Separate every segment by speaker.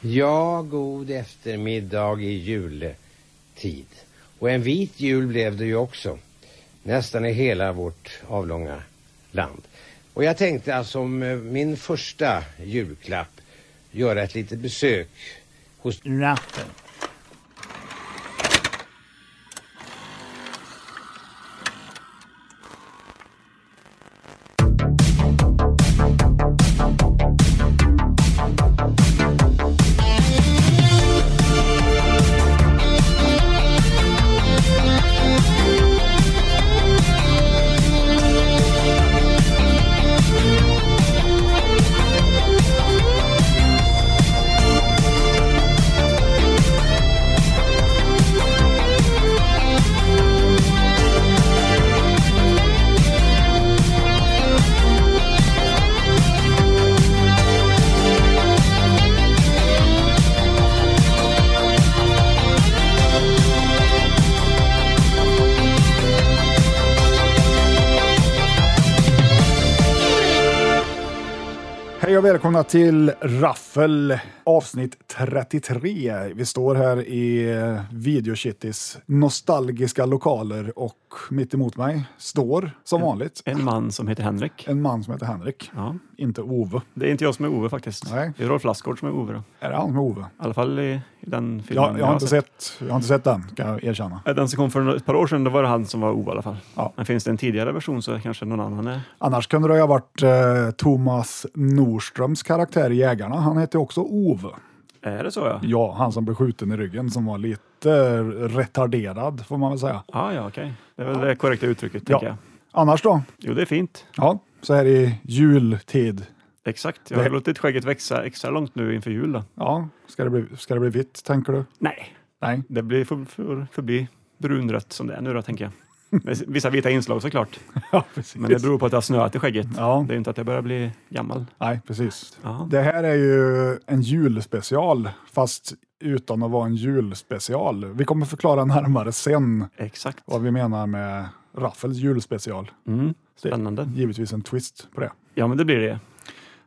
Speaker 1: Ja, god eftermiddag i juletid. Och en vit jul blev det ju också. Nästan i hela vårt avlånga land. Och jag tänkte att som eh, min första julklapp göra ett litet besök hos
Speaker 2: Ratten.
Speaker 3: Hej och välkomna till Raffel avsnitt 33. Vi står här i eh, Videokittis nostalgiska lokaler och mitt emot mig står som vanligt
Speaker 4: En man som heter Henrik.
Speaker 3: en man som heter Henrik,
Speaker 4: Ja.
Speaker 3: inte Ove.
Speaker 4: Det är inte jag som är Ove faktiskt.
Speaker 3: Nej.
Speaker 4: Det är Rolf Lassgård som är Ove. Då. I
Speaker 3: Är det han som är Ove?
Speaker 4: alla fall i, i den filmen
Speaker 3: Jag, jag, har inte sett, jag har inte sett den, kan jag erkänna.
Speaker 4: Eh, Den som kom för ett par år sedan, då var det han som var Ove i alla fall.
Speaker 3: Ja.
Speaker 4: Men finns det en tidigare version så kanske någon annan är...
Speaker 3: Annars kunde det ha varit eh, Thomas Norströms karaktär i Jägarna. Han hette också Ove.
Speaker 4: Är det så ja?
Speaker 3: Ja, han som blev skjuten i ryggen som var lite eh, retarderad får man väl säga.
Speaker 4: Ah, ja, okej. Det är väl det korrekta uttrycket, tänker jag.
Speaker 3: Annars då?
Speaker 4: Jo, det är fint.
Speaker 3: Ja, så här i jultid.
Speaker 4: Exakt. Jag har
Speaker 3: Det-
Speaker 4: låtit skägget växa extra långt nu inför jul då.
Speaker 3: Ja, ska det bli, ska det bli vitt tänker du?
Speaker 4: Nej,
Speaker 3: Nej.
Speaker 4: det blir för, för, förbi brunrött som det är nu då, tänker jag. Med vissa vita inslag såklart.
Speaker 3: Ja, precis.
Speaker 4: Men det beror på att det har snöat i skägget.
Speaker 3: Ja.
Speaker 4: Det är ju inte att jag börjar bli gammal.
Speaker 3: Nej, precis.
Speaker 4: Ja.
Speaker 3: Det här är ju en julspecial, fast utan att vara en julspecial. Vi kommer förklara närmare sen
Speaker 4: Exakt.
Speaker 3: vad vi menar med Raffels julspecial.
Speaker 4: Mm.
Speaker 3: Det är
Speaker 4: Spännande.
Speaker 3: Givetvis en twist på det.
Speaker 4: Ja, men det blir det.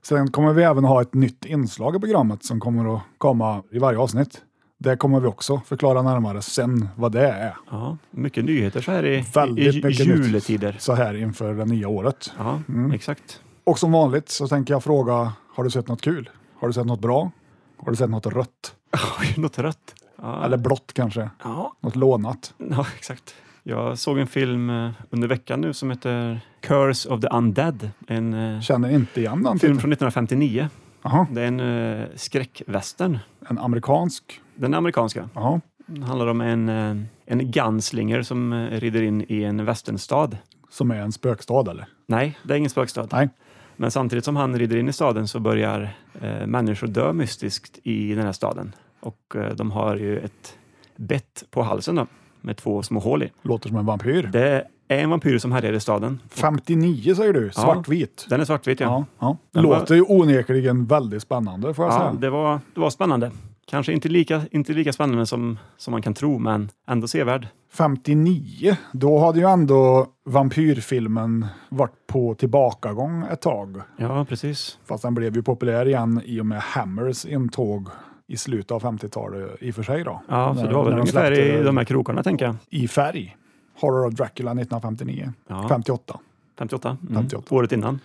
Speaker 3: Sen kommer vi även ha ett nytt inslag i programmet som kommer att komma i varje avsnitt. Det kommer vi också förklara närmare sen vad det är.
Speaker 4: Ja, mycket nyheter så här i, i,
Speaker 3: Väldigt
Speaker 4: i
Speaker 3: mycket nytt. Mm.
Speaker 4: juletider.
Speaker 3: Så här inför det nya året.
Speaker 4: Ja, exakt.
Speaker 3: Och som vanligt så tänker jag fråga, har du sett något kul? Har du sett något bra? Har du sett något rött?
Speaker 4: Oj, Något rött. Ja,
Speaker 3: Eller blått kanske?
Speaker 4: ja.
Speaker 3: Något lånat?
Speaker 4: ja, exakt. Jag såg en film eh, under veckan nu som heter Curse of the Undead. En eh,
Speaker 3: Känner inte igen den
Speaker 4: film
Speaker 3: titeln.
Speaker 4: från 1959.
Speaker 3: Jaha,
Speaker 4: Det är en eh, skräckvästern.
Speaker 3: en amerikansk?
Speaker 4: Den är amerikanska.
Speaker 3: Jaha,
Speaker 4: Den handlar om en, eh, en gunslinger som eh, rider in i en västernstad.
Speaker 3: som är en spökstad eller?
Speaker 4: Nej, det är ingen spökstad.
Speaker 3: Nej.
Speaker 4: Men samtidigt som han rider in i staden så börjar eh, människor dö mystiskt i den här staden. Och eh, de har ju ett bett på halsen då, med två små hål i.
Speaker 3: Låter som en vampyr.
Speaker 4: Det är en vampyr som härjar i staden.
Speaker 3: 59 säger du, svartvit.
Speaker 4: Den är svartvit ja.
Speaker 3: Ja, ja.
Speaker 4: Den var-
Speaker 3: Låter ju onekligen väldigt spännande får jag
Speaker 4: ja
Speaker 3: säga.
Speaker 4: det, var, det var spännande. Kanske inte lika, inte lika spännande som, som man kan tro, men ändå sevärd.
Speaker 3: 59, då hade ju ändå vampyrfilmen varit på tillbakagång ett tag.
Speaker 4: Ja, precis.
Speaker 3: Fast den blev ju populär igen i och med Hammers intåg i slutet av 50-talet i och för sig då.
Speaker 4: Ja, så
Speaker 3: När-
Speaker 4: det var väl
Speaker 3: när de
Speaker 4: ungefär i
Speaker 3: släppte
Speaker 4: de här krokarna, tänker jag.
Speaker 3: i färg. Horror of Dracula 1959.
Speaker 4: Ja.
Speaker 3: 58.
Speaker 4: 58. Mm.
Speaker 3: 58.
Speaker 4: Året innan.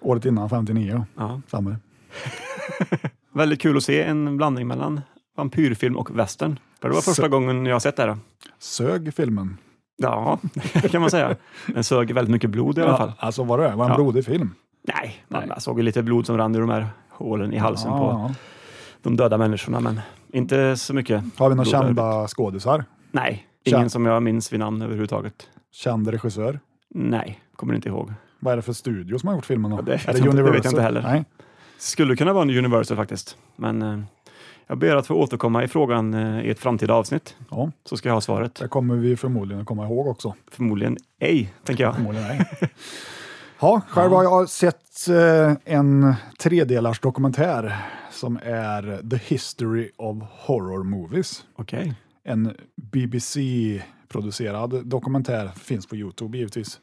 Speaker 3: Året innan 59.
Speaker 4: Ja.
Speaker 3: Samma.
Speaker 4: Väldigt kul att se en blandning mellan vampyrfilm och western. För det var första
Speaker 3: Så-
Speaker 4: gången jag har sett det. här.
Speaker 3: Sög filmen.
Speaker 4: Ja, det kan man säga. Den sög väldigt mycket blod i alla fall.
Speaker 3: Ja, alltså var det? Var en
Speaker 4: Ja.
Speaker 3: blodig film?
Speaker 4: Nej, man jag såg ju lite blod som rann ur de här hålen i halsen på
Speaker 3: Ja.
Speaker 4: de döda människorna, men inte så mycket.
Speaker 3: Har vi några
Speaker 4: Blod
Speaker 3: kända skådisar?
Speaker 4: Nej, ingen
Speaker 3: Tja.
Speaker 4: som jag minns vid namn överhuvudtaget.
Speaker 3: Känd regissör?
Speaker 4: Nej, kommer inte ihåg.
Speaker 3: Vad är det för studio som har gjort filmen då?
Speaker 4: Ja, det vet
Speaker 3: är
Speaker 4: jag inte- det vet jag inte heller.
Speaker 3: Nej.
Speaker 4: Skulle kunna vara en Universal faktiskt, men eh, jag ber att få återkomma i frågan eh, i ett framtida avsnitt,
Speaker 3: Ja,
Speaker 4: så ska jag ha svaret.
Speaker 3: det kommer vi förmodligen att komma ihåg också.
Speaker 4: Förmodligen ej, tänker jag.
Speaker 3: Förmodligen nej. Ja, själv har jag sett eh, en tredelars dokumentär som är The History of Horror Movies.
Speaker 4: Okej.
Speaker 3: En BBC-producerad dokumentär, finns på Youtube givetvis.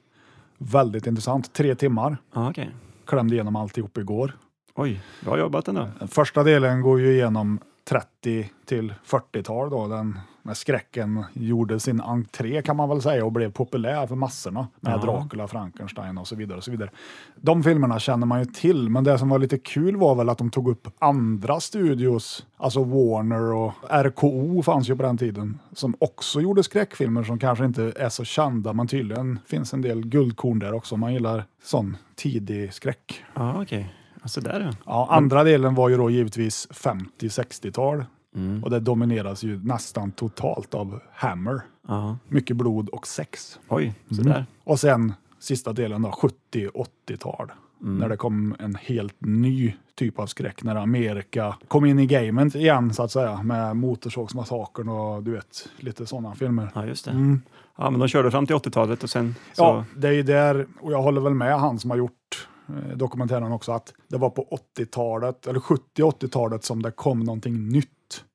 Speaker 3: Väldigt intressant, tre timmar.
Speaker 4: Ja, okej.
Speaker 3: Klämde igenom alltihop igår.
Speaker 4: Oj, bra jobbat ändå.
Speaker 3: Den första delen går ju igenom 30 till 40-tal då, den, när skräcken gjorde sin entré kan man väl säga och blev populär för massorna med
Speaker 4: Ja.
Speaker 3: Dracula, Frankenstein och så vidare. och så vidare. De filmerna känner man ju till, men det som var lite kul var väl att de tog upp andra studios, alltså Warner och RKO fanns ju på den tiden, som också gjorde skräckfilmer som kanske inte är så kända, men tydligen finns en del guldkorn där också om man gillar sån tidig skräck.
Speaker 4: Ja, okej. Alltså där ja.
Speaker 3: Ja, andra delen var ju då givetvis 50-60-tal och det domineras ju nästan totalt av Hammer.
Speaker 4: ja.
Speaker 3: Mycket blod och sex.
Speaker 4: Oj, så där.
Speaker 3: Och sen sista delen då, 70-80-tal. När det kom en helt ny typ av skräck, när Amerika kom in i gamet igen så att säga med Motorsågsmassakern och du vet, lite sådana filmer.
Speaker 4: Ja, just det. Ja, men de körde fram till 80-talet och sen så...
Speaker 3: Mm. Ja, det är ju där, och jag håller väl med han som har gjort eh, dokumentären också, att det var på 80-talet, eller 70-80-talet som det kom någonting nytt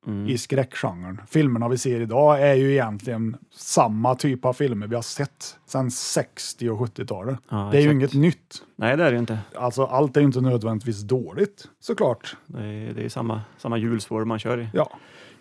Speaker 4: Mm.
Speaker 3: i skräckgenren. Filmerna vi ser idag är ju egentligen samma typ av filmer vi har sett sedan 60 och 70-talet.
Speaker 4: Ja,
Speaker 3: det är ju inget
Speaker 4: exakt.
Speaker 3: nytt.
Speaker 4: Nej, det är det ju inte.
Speaker 3: Alltså, allt är ju inte nödvändigtvis dåligt, såklart.
Speaker 4: Det är, det är samma, samma hjulspår man kör i,
Speaker 3: Ja,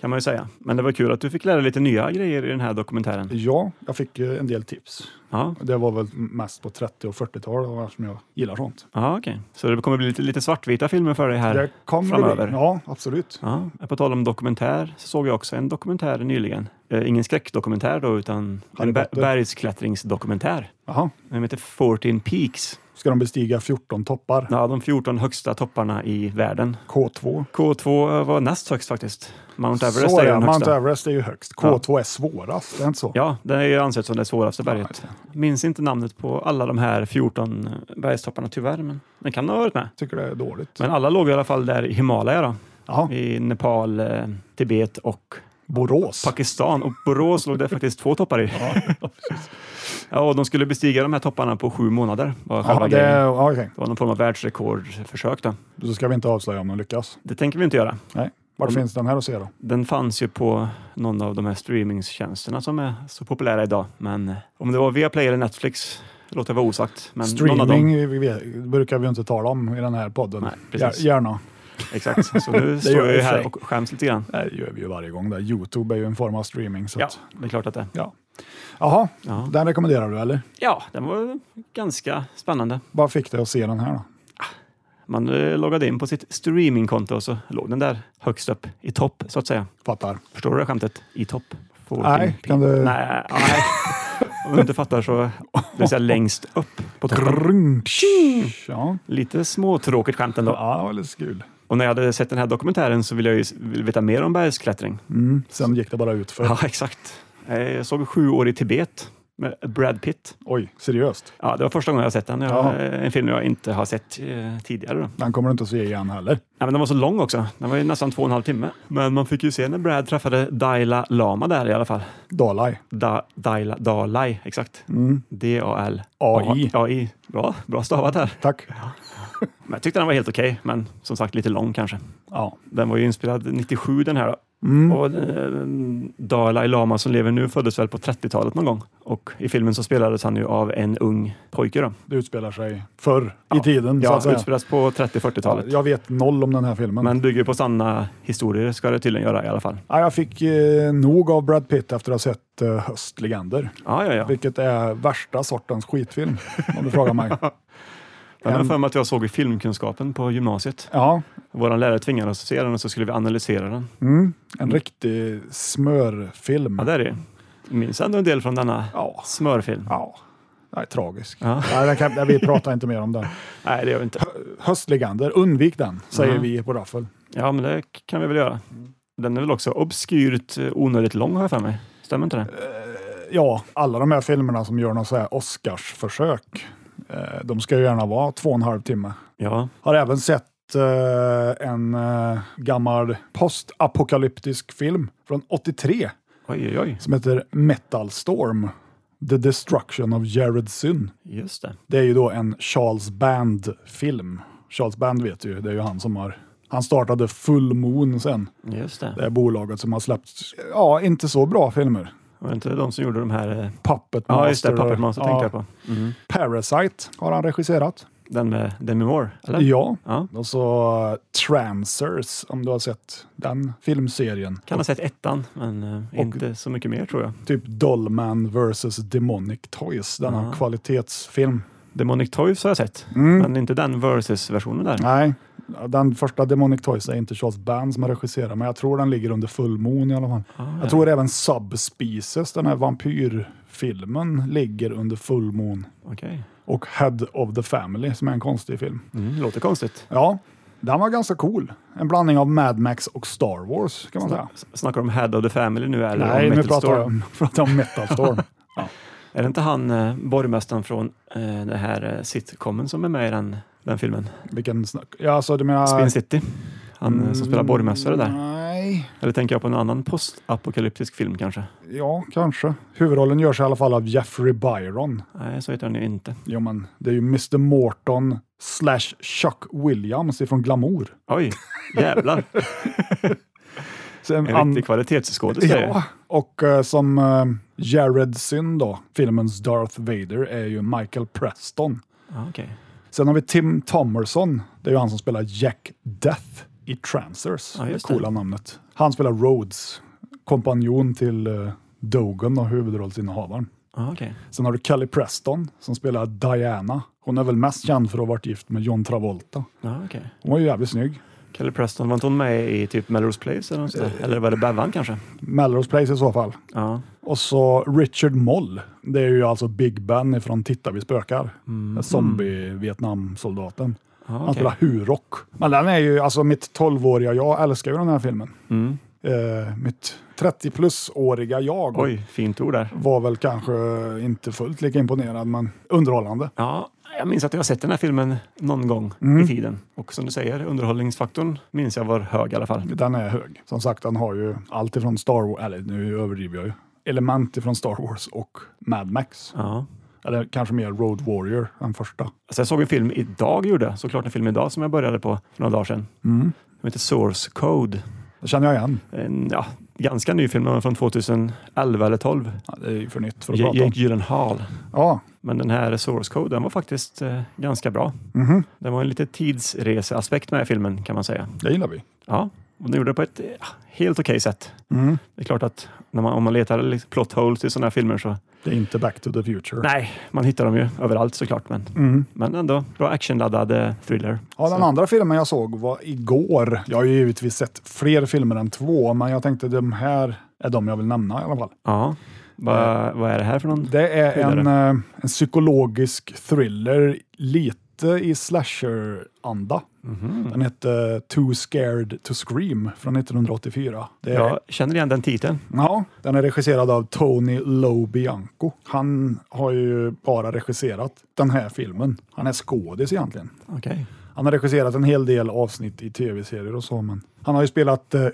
Speaker 4: kan man ju säga. Men det var kul att du fick lära dig lite nya grejer i den här dokumentären.
Speaker 3: ja jag fick eh, en del tips.
Speaker 4: Ja,
Speaker 3: Det var väl mest på 30 och 40-talet eftersom jag gillar sånt.
Speaker 4: ja okej. Så det kommer bli lite, lite svartvita filmer för dig här
Speaker 3: Det kommer det
Speaker 4: framöver.
Speaker 3: bli. Ja, absolut.
Speaker 4: Ja, på tal om dokumentär så såg jag också en dokumentär nyligen. Eh, ingen skräckdokumentär då, utan
Speaker 3: Harry
Speaker 4: en ber-
Speaker 3: Potter.
Speaker 4: bergsklättringsdokumentär.
Speaker 3: Jaha.
Speaker 4: Den heter 14 Peaks.
Speaker 3: ska de bestiga 14 toppar.
Speaker 4: Ja, de 14 högsta topparna i världen.
Speaker 3: K2.
Speaker 4: K2 var näst högst faktiskt. Mount Everest
Speaker 3: så
Speaker 4: är
Speaker 3: ja,
Speaker 4: ju den
Speaker 3: Mount
Speaker 4: högsta.
Speaker 3: Everest är ju högst. K2 är svårast, det är inte så?
Speaker 4: Ja, det är ju ansett som det svåraste berget.
Speaker 3: Ja,
Speaker 4: Minns inte namnet på alla de här 14 bergstopparna tyvärr, men den kan ha varit med.
Speaker 3: Jag tycker det är dåligt.
Speaker 4: Men alla låg i alla fall där i Himalaya då,
Speaker 3: Jaha,
Speaker 4: i Nepal, eh, Tibet och
Speaker 3: Borås.
Speaker 4: Pakistan. Och Borås låg det faktiskt två toppar i. Ja, och de skulle bestiga de här topparna på sju månader. Var
Speaker 3: Ja,
Speaker 4: själva
Speaker 3: det,
Speaker 4: grejen.
Speaker 3: ja, okej.
Speaker 4: det var någon form av världsrekordförsök. Då.
Speaker 3: Då ska vi inte avslöja om de lyckas.
Speaker 4: Det tänker vi inte göra.
Speaker 3: Nej. Var
Speaker 4: Mm.
Speaker 3: finns den här att se då?
Speaker 4: Den fanns ju på någon av de här streamingtjänsterna som är så populära idag. Men eh, om det var Viaplay eller Netflix låter jag vara osagt. Men någon av dem.
Speaker 3: Streaming vi vet, brukar vi inte tala om i den här podden.
Speaker 4: Nej, precis.
Speaker 3: Gär- Gärna.
Speaker 4: Exakt. Så nu står
Speaker 3: gör jag
Speaker 4: jag ju
Speaker 3: i och för
Speaker 4: här
Speaker 3: sig.
Speaker 4: och skäms lite grann.
Speaker 3: Det gör vi ju varje gång. Där. Youtube är ju en form av streaming. Så
Speaker 4: Ja,
Speaker 3: att,
Speaker 4: det är klart att det
Speaker 3: ja. Jaha,
Speaker 4: Ja,
Speaker 3: den rekommenderar du eller?
Speaker 4: ja den var ganska spännande.
Speaker 3: Vad fick dig att se den här då?
Speaker 4: Man eh, loggade in på sitt streamingkonto och så låg den där högst upp i topp så att säga.
Speaker 3: Fattar.
Speaker 4: Förstår du det skämtet? I topp? Får
Speaker 3: Nej,
Speaker 4: din-
Speaker 3: kan du-
Speaker 4: Nej, nej. Om du inte fattar så, det vill säga längst upp på toppen.
Speaker 3: Grrrm, tsch. Ja,
Speaker 4: Lite småtråkigt skämt ändå.
Speaker 3: ja det var lite kul.
Speaker 4: Och när jag hade sett den här dokumentären så ville jag ju s- ville veta mer om bergsklättring.
Speaker 3: Mm. Sen gick det bara ut för.
Speaker 4: Ja, exakt. Eh, Jag såg sju år i Tibet med Brad Pitt.
Speaker 3: Oj, seriöst?
Speaker 4: Ja, det var första gången jag sett den.
Speaker 3: Jaha.
Speaker 4: Jag, eh, en film jag inte har sett eh, tidigare. Då.
Speaker 3: Den kommer du inte att se igen heller.
Speaker 4: Ja, men den var så lång också. Den var ju nästan två och en halv timme. Men man fick ju se när Brad träffade Daila Lama där i alla fall.
Speaker 3: Dalai. Mm.
Speaker 4: Da, Daila, Dalai, exakt. D-A-L.
Speaker 3: AI.
Speaker 4: AI. Bra, bra stavat här.
Speaker 3: Tack.
Speaker 4: Men jag tyckte den var helt okej, men som sagt lite lång kanske.
Speaker 3: Ja.
Speaker 4: Den var ju inspelad 97 den här. Då.
Speaker 3: Mm.
Speaker 4: Och eh, Dalai Lama som lever nu föddes väl på 30-talet någon gång. Och i filmen så spelades han ju av en ung pojke. Då.
Speaker 3: Det utspelar sig förr i
Speaker 4: Ja.
Speaker 3: tiden. så
Speaker 4: Ja,
Speaker 3: att säga.
Speaker 4: utspelas på
Speaker 3: Ja,
Speaker 4: 30-40-talet.
Speaker 3: jag vet noll om den här filmen.
Speaker 4: Men bygger på sanna historier ska det tydligen göra i alla fall.
Speaker 3: Ja, jag fick eh, nog av Brad Pitt efter att ha sett eh, Höstlegender,
Speaker 4: Ja, ja, ja.
Speaker 3: vilket är värsta sortens skitfilm om du frågar mig.
Speaker 4: Den har jag för mig att jag såg i filmkunskapen på gymnasiet.
Speaker 3: Ja,
Speaker 4: Vår lärare tvingade oss att se den och så skulle vi analysera den.
Speaker 3: mm. en riktig smörfilm.
Speaker 4: Ja, där är det. Jag minns ändå en del från denna
Speaker 3: Ja.
Speaker 4: smörfilm.
Speaker 3: ja. Det är tragisk.
Speaker 4: Ja.
Speaker 3: Nej, den kan, nej, vi pratar inte mer om den.
Speaker 4: Nej, det gör vi inte.
Speaker 3: Höstlegender, undvik den, säger
Speaker 4: Mm.
Speaker 3: vi på Raffel.
Speaker 4: Ja, men det kan vi väl göra. Den är väl också obskyrt eh, onödigt lång har jag för mig. Stämmer inte det?
Speaker 3: Ja, alla de här filmerna som gör något så här Oscarsförsök, eh, de ska ju gärna vara två och en halv timme.
Speaker 4: Ja,
Speaker 3: Har även sett eh, en eh, gammal postapokalyptisk film från 83
Speaker 4: oj, oj, oj.
Speaker 3: som heter Metal Storm. The Destruction of Jared Syn.
Speaker 4: Just det.
Speaker 3: Det är ju då en Charles Band-film. Charles Band vet du ju, det är ju han som har... Han startade Full Moon sen,
Speaker 4: Just det.
Speaker 3: det är bolaget som har släppt, ja, inte så bra filmer.
Speaker 4: Var det inte de som gjorde de här... eh,
Speaker 3: Puppet Master.
Speaker 4: Ja, just det. Puppet Master
Speaker 3: ja,
Speaker 4: tänkte jag på. Mm.
Speaker 3: Parasite har han regisserat.
Speaker 4: Den med Demi Moore? Eller?
Speaker 3: Ja.
Speaker 4: Ja.
Speaker 3: Och så Transers, om du har sett den filmserien.
Speaker 4: Kan ha sett ettan, men eh, inte så mycket mer tror jag.
Speaker 3: Typ Dollman vs. Demonic Toys, denna
Speaker 4: Ja.
Speaker 3: kvalitetsfilm.
Speaker 4: Demonic Toys har jag sett,
Speaker 3: Mm.
Speaker 4: men inte den Versus-versionen där.
Speaker 3: Nej, den första Demonic Toys är inte Charles Band som har regisserat, men jag tror den ligger under Full Moon i alla fall.
Speaker 4: Ah, ja.
Speaker 3: Jag tror även Subspecies, den här vampyrfilmen, ligger under Full Moon.
Speaker 4: Okej.
Speaker 3: Och Head of the Family, som är en konstig film.
Speaker 4: Mm, låter konstigt.
Speaker 3: Ja, den var ganska cool. En blandning av Mad Max och Star Wars, kan man säga.
Speaker 4: S- Snackar om Head of the Family nu eller
Speaker 3: Nej,
Speaker 4: om
Speaker 3: nu
Speaker 4: Metal
Speaker 3: pratar
Speaker 4: Storm?
Speaker 3: jag, om- pratar jag om Metal Storm.
Speaker 4: Är det inte han eh, borgmästaren från eh, den här eh, sitcomen som är med i den, den filmen?
Speaker 3: Vilken snack? Ja, alltså du menar... Mm,
Speaker 4: Spin City? Han eh, som spelar borgmästare där.
Speaker 3: Nej,
Speaker 4: Eller tänker jag på en annan postapokalyptisk film kanske?
Speaker 3: ja kanske. Huvudrollen görs i alla fall av Jeffrey Byron.
Speaker 4: Nej, så heter han ju inte.
Speaker 3: Jo, men det är ju Mr Morton slash Chuck Williams ifrån Glamour.
Speaker 4: Oj, jävlar.
Speaker 3: Så en
Speaker 4: En
Speaker 3: an-
Speaker 4: riktig kvalitetsskådis är det.
Speaker 3: Ja, och eh, som eh, Jared Syn då, filmens Darth Vader, är ju Michael Preston.
Speaker 4: Ja, okej.
Speaker 3: Sen har vi Tim Thomerson, det är ju han som spelar Jack Death i Transers,
Speaker 4: Ja,
Speaker 3: det
Speaker 4: just det.
Speaker 3: coola namnet. Han spelar Rhodes, kompanjon till eh, Dogen och huvudrollsinnehavaren.
Speaker 4: Ja, okej.
Speaker 3: Sen har du Kelly Preston som spelar Diana. Hon är väl mest känd för att ha varit gift med John Travolta.
Speaker 4: Ja, okej.
Speaker 3: Hon var ju jävligt snygg.
Speaker 4: Kelly Preston, var inte hon med i typ Melrose Place eller något sånt där? Eller var det Bevan kanske?
Speaker 3: Melrose Place i så fall.
Speaker 4: Ja.
Speaker 3: Och så Richard Moll. Det är ju alltså Big Ben ifrån Titta vi spökar.
Speaker 4: Mm.
Speaker 3: Zombie-Vietnamsoldaten.
Speaker 4: Ja,
Speaker 3: Han
Speaker 4: okej.
Speaker 3: spelar Hurok. Men den är ju, alltså mitt 12-åriga jag älskar ju den här filmen.
Speaker 4: Mm.
Speaker 3: Eh, mitt 30-plus-åriga jag
Speaker 4: Oj, fint ord där.
Speaker 3: var väl kanske inte fullt lika imponerad, men underhållande.
Speaker 4: Ja, jag minns att jag har sett den här filmen någon gång i tiden. Och som du säger, underhållningsfaktorn minns jag var hög i alla fall.
Speaker 3: Den är hög. Som sagt, den har ju allt ifrån Star Wars, eller nu överdriver jag ju, element ifrån Star Wars och Mad Max.
Speaker 4: Ja.
Speaker 3: Eller kanske mer Road Warrior, den första.
Speaker 4: Alltså jag såg en film idag, gjorde jag. såklart en film idag som jag började på för några dagar sedan.
Speaker 3: Mm.
Speaker 4: Den heter Source Code.
Speaker 3: Det känner jag igen.
Speaker 4: En ja, ganska ny film, den var från 2011 eller 12.
Speaker 3: Ja, det är ju för nytt för att
Speaker 4: J-
Speaker 3: prata om.
Speaker 4: Jake Gyllenhaal.
Speaker 3: Ja,
Speaker 4: Men den här Source Code, den var faktiskt eh, ganska bra.
Speaker 3: mhm.
Speaker 4: Det var en lite tidsreseaspekt med i filmen kan man säga.
Speaker 3: det gillar vi.
Speaker 4: Ja, och den gjorde det på ett eh, helt okej sätt.
Speaker 3: Mm.
Speaker 4: Det är klart att när man, om man letar liksom plot holes i sådana här filmer så
Speaker 3: Det är inte Back to the Future.
Speaker 4: Nej, man hittar dem ju överallt såklart. Men,
Speaker 3: Mm.
Speaker 4: men ändå bra actionladdad eh, thriller.
Speaker 3: Ja, den andra filmen jag såg var igår. Jag har ju givetvis sett fler filmer än två, men jag tänkte de här är de jag vill nämna i alla fall.
Speaker 4: Ja, vad vad är det här för någon?
Speaker 3: Det är
Speaker 4: Vidare.
Speaker 3: en, eh, en psykologisk thriller, lite i slasher-anda.
Speaker 4: Mm.
Speaker 3: Den hette Too Scared to Scream från 1984. Det är, ja.
Speaker 4: Jag känner igen den titeln.
Speaker 3: den är regisserad av Tony Lobianco. Han har ju bara regisserat den här filmen. Han är skådis egentligen.
Speaker 4: Okej.
Speaker 3: Han har regisserat en hel del avsnitt i tv-serier och så, men han har ju spelat eh,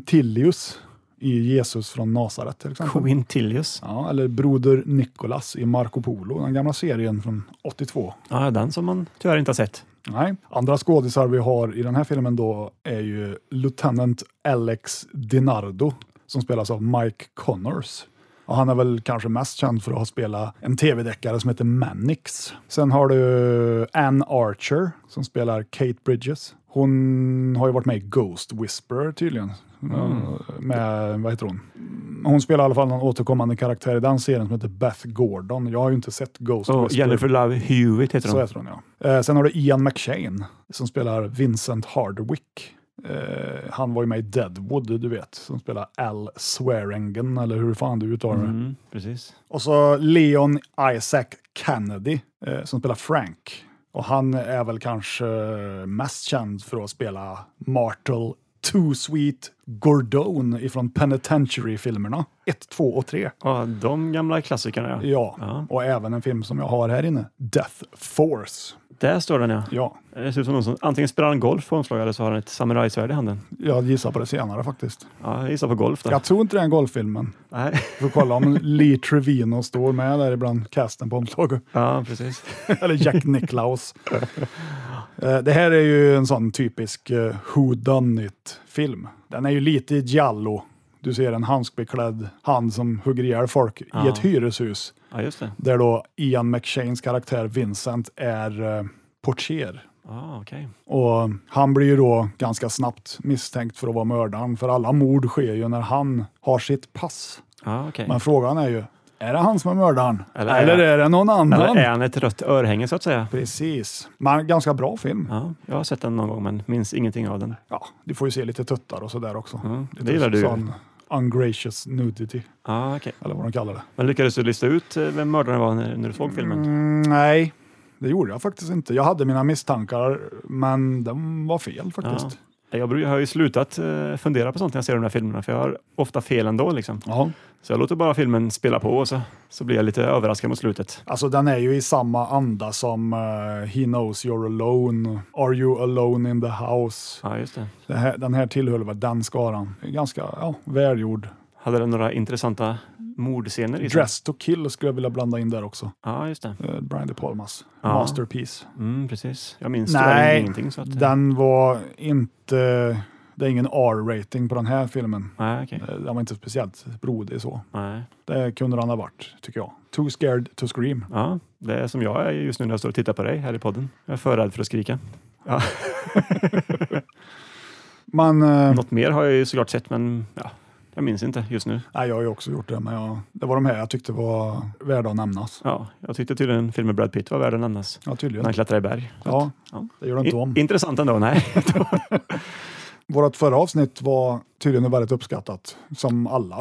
Speaker 3: Quintilius i Jesus från Nasaret till exempel.
Speaker 4: Quintilius.
Speaker 3: Ja, eller Broder Nicolas i Marco Polo, den gamla serien från 82.
Speaker 4: Ja, den som man tyvärr inte har sett.
Speaker 3: Nej. Andra skådisar vi har i den här filmen då är ju Lieutenant Alex DiNardo som spelas av Mike Connors. Och han är väl kanske mest känd för att ha spelat en tv-deckare som heter Mannix. Sen har du Ann Archer som spelar Kate Bridges. Hon har ju varit med i Ghost Whisperer tydligen. Med, vad heter hon? Hon spelar i alla fall någon återkommande karaktär i den serien som heter Beth Gordon. Jag har ju inte sett Ghost
Speaker 4: Och
Speaker 3: Whisperer.
Speaker 4: Jennifer Love Hewitt heter
Speaker 3: Så
Speaker 4: hon.
Speaker 3: heter hon, ja. Eh, sen har du Ian McShane som spelar Vincent Hardwick. Eh, han var ju med i Deadwood, du vet, som spelar Al Swearingen, eller hur fan du uttalar det.
Speaker 4: Mm, precis.
Speaker 3: Och så Leon Isaac Kennedy eh, som spelar Frank. Och han är väl kanske mest känd för att spela Martel Too Sweet Gordon ifrån Penitentiary-filmerna 1, 2 och 3.
Speaker 4: Ja, de gamla klassikerna ja.
Speaker 3: Ja,
Speaker 4: Ja.
Speaker 3: och även en film som jag har här inne, Death Force.
Speaker 4: Där står den ja.
Speaker 3: Ja,
Speaker 4: Det ser ut som någon som antingen spelar en golf på omslaget eller så har han ett samurajsvärd i handen.
Speaker 3: Jag gissar på det senare faktiskt.
Speaker 4: Ja, jag gissar på golf där.
Speaker 3: Jag tror inte det är en golffilmen.
Speaker 4: Nej.
Speaker 3: Får kolla om Lee Trevino står med där ibland casten på omslaget.
Speaker 4: Ja, precis.
Speaker 3: Eller Jack Nicklaus. Eh, det här är ju en sån typisk eh, Who Done It-film. Den är ju lite giallo. Du ser en handskbeklädd hand som hugger ihjäl folk i
Speaker 4: Ja.
Speaker 3: ett hyreshus.
Speaker 4: Ja, just det.
Speaker 3: Där då Ian McShanes karaktär Vincent är eh, portier.
Speaker 4: Ah, okej.
Speaker 3: Och han blir ju då ganska snabbt misstänkt för att vara mördaren, för alla mord sker ju när han har sitt pass.
Speaker 4: Ah, okej.
Speaker 3: Men frågan är ju, är det han som är mördaren?
Speaker 4: Eller
Speaker 3: Eller,
Speaker 4: är-
Speaker 3: är det någon annan?
Speaker 4: Eller är han ett rött örhänge så att säga?
Speaker 3: Precis. Men ganska bra film.
Speaker 4: Ja, jag har sett den någon gång men minns ingenting av den.
Speaker 3: Ja, du får ju se lite tuttar och sådär också.
Speaker 4: Ja, Mm, det
Speaker 3: Lite
Speaker 4: gillar du.
Speaker 3: sån Ungracious nudity,
Speaker 4: Ah, okej.
Speaker 3: eller vad de kallar det.
Speaker 4: Men lyckades du lista ut eh, vem mördaren var när, när du såg filmen?
Speaker 3: Mm, nej, det gjorde jag faktiskt inte. Jag hade mina misstankar, men de var fel faktiskt.
Speaker 4: Jag bru- jag har ju slutat eh, fundera på sånt när jag ser de där filmerna för jag har ofta fel ändå. Liksom.
Speaker 3: Ja.
Speaker 4: Så jag låter bara filmen spela på och så, så blir jag lite överraskad mot slutet.
Speaker 3: Alltså den är ju i samma anda som eh, He knows you're alone, Are you alone in the house?
Speaker 4: Ja, just det.
Speaker 3: Det här, den här tillhör väl den skaran. Ganska ja, välgjord.
Speaker 4: Hade den några intressanta mordscener i sig?
Speaker 3: Dress to kill skulle jag vilja blanda in där också.
Speaker 4: Ja, just det.
Speaker 3: Eh, Brian De Palmas
Speaker 4: Ja.
Speaker 3: masterpiece.
Speaker 4: Mm, precis. Jag minns
Speaker 3: Nej,
Speaker 4: tyvärr ingenting. Så att, eh,
Speaker 3: Den var inte... Det är ingen R-rating på den här filmen.
Speaker 4: Nej, okej.
Speaker 3: Eh, Den var inte speciellt brodig så.
Speaker 4: Nej.
Speaker 3: Det kunde den ha varit, tycker jag. Too scared to scream.
Speaker 4: Ja, det är som jag är just nu när jag står och tittar på dig här i podden. Jag är för rädd för att skrika. Ja.
Speaker 3: Men eh,
Speaker 4: Något mer har jag ju såklart sett, men ja, jag minns inte just nu.
Speaker 3: nej, jag har ju också gjort det, men jag, det var de här jag tyckte var värda att nämnas.
Speaker 4: Ja, jag tyckte tydligen filmen Brad Pitt var värd att nämnas.
Speaker 3: Ja,
Speaker 4: När
Speaker 3: tydligen.
Speaker 4: han klättrar i berg.
Speaker 3: Ja,
Speaker 4: Ja.
Speaker 3: det gör det inte om.
Speaker 4: I, intressant ändå, nej.
Speaker 3: Vårt förra avsnitt var tydligen väldigt uppskattat. Som alla,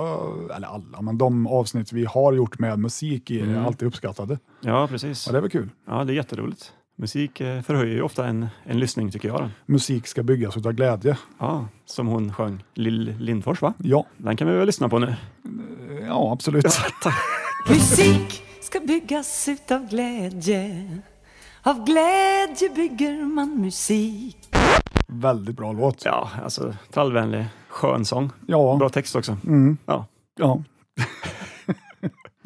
Speaker 3: eller alla, men de avsnitt vi har gjort med musik i är
Speaker 4: Mm.
Speaker 3: alltid uppskattade.
Speaker 4: Ja, precis.
Speaker 3: Ja, det är väl kul.
Speaker 4: Ja, det är jätteroligt. Musik eh, förhöjer ju ofta en, en lyssning tycker jag. då.
Speaker 3: Musik ska byggas utav glädje.
Speaker 4: Ja, som hon sjöng, Lill Lindfors va?
Speaker 3: Ja,
Speaker 4: Den kan vi väl lyssna på nu.
Speaker 3: ja absolut.
Speaker 2: Musik ska byggas utav glädje. Av glädje bygger man musik.
Speaker 3: Väldigt bra låt.
Speaker 4: Ja, alltså trallvänlig, skön sång. Bra
Speaker 3: Ja,
Speaker 4: text också.
Speaker 3: mm,
Speaker 4: Ja.
Speaker 3: ja.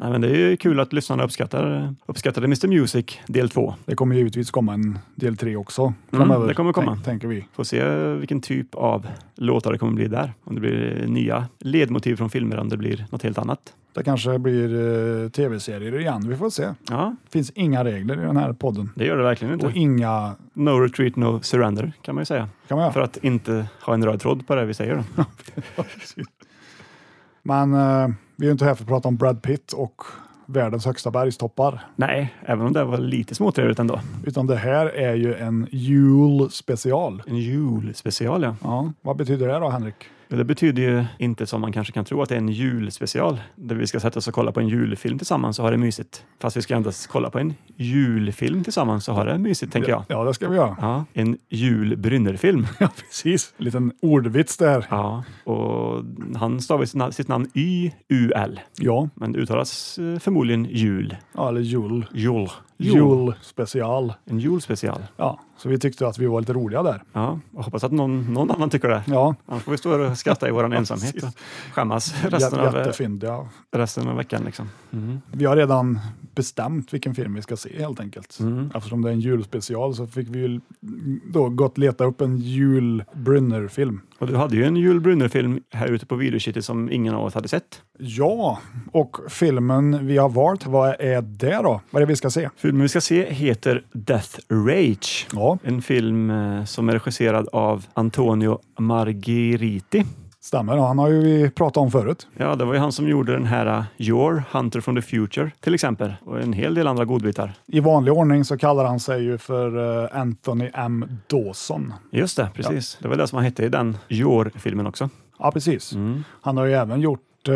Speaker 4: Nej, men det är ju kul att lyssnarna uppskattar, uppskattade Mr Music del 2.
Speaker 3: det kommer givetvis komma en del tre också. framöver,
Speaker 4: Mm, det kommer komma.
Speaker 3: tänk- tänker vi.
Speaker 4: Får se vilken typ av låtar det kommer bli där. Om det blir nya ledmotiv från filmer, om det blir något helt annat.
Speaker 3: Det kanske blir eh, tv-serier igen. Vi får se.
Speaker 4: Ja,
Speaker 3: Det finns inga regler i den här podden.
Speaker 4: det gör det verkligen
Speaker 3: Och
Speaker 4: inte.
Speaker 3: inga...
Speaker 4: No retreat, no surrender kan man ju säga.
Speaker 3: kan man göra.
Speaker 4: För att inte ha en röd tråd på det vi säger. Då.
Speaker 3: Men eh, vi är ju inte här för att prata om Brad Pitt och världens högsta bergstoppar.
Speaker 4: Nej, även om det var lite småtrevligt ändå.
Speaker 3: Utan det här är ju en julspecial.
Speaker 4: En julspecial ja.
Speaker 3: Ja, vad betyder det då Henrik?
Speaker 4: Ja, Det betyder ju inte som man kanske kan tro att det är en julspecial där vi ska sätta oss och kolla på en julfilm tillsammans och ha det mysigt. Fast vi ska endast kolla på en julfilm tillsammans och ha det mysigt tänker jag.
Speaker 3: Ja, det ska vi göra.
Speaker 4: Ja, en julbrynnerfilm.
Speaker 3: Ja, precis. Liten ordvits där.
Speaker 4: Ja, och han stavar sitt, na- sitt namn Y-U-L,
Speaker 3: Ja,
Speaker 4: men det uttalas eh, förmodligen jul.
Speaker 3: ja eller jul.
Speaker 4: Jul.
Speaker 3: Julspecial.
Speaker 4: En julspecial.
Speaker 3: Ja, så vi tyckte att vi var lite roliga där.
Speaker 4: Ja, och hoppas att någon, någon annan tycker det.
Speaker 3: Ja,
Speaker 4: Annars får vi stå här och skratta i vår ensamhet och skämmas resten
Speaker 3: jä-
Speaker 4: av, eh,
Speaker 3: jättefyndiga.
Speaker 4: resten av veckan. Liksom. Mm.
Speaker 3: Vi har redan bestämt vilken film vi ska se helt enkelt.
Speaker 4: Mm.
Speaker 3: Eftersom det är en julspecial så fick vi ju då gått leta upp en julbrynnerfilm.
Speaker 4: Och du hade ju en julbrynnerfilm här ute på videokittet som ingen av oss hade sett.
Speaker 3: Ja, och filmen vi har valt, vad är det då? Vad är det vi ska se?
Speaker 4: Filmen vi ska se heter Death Rage.
Speaker 3: Ja,
Speaker 4: En film eh, som är regisserad av Antonio Margheriti.
Speaker 3: stämmer. Han har ju vi pratat om förut.
Speaker 4: Ja, det var ju han som gjorde den här eh, Your Hunter from the Future till exempel och en hel del andra godbitar.
Speaker 3: I vanlig ordning så kallar han sig ju för eh, Anthony M. Dawson.
Speaker 4: Just det, precis. Det var det som han hette i den Your-filmen också.
Speaker 3: Ja, precis. Han har ju även gjort eh,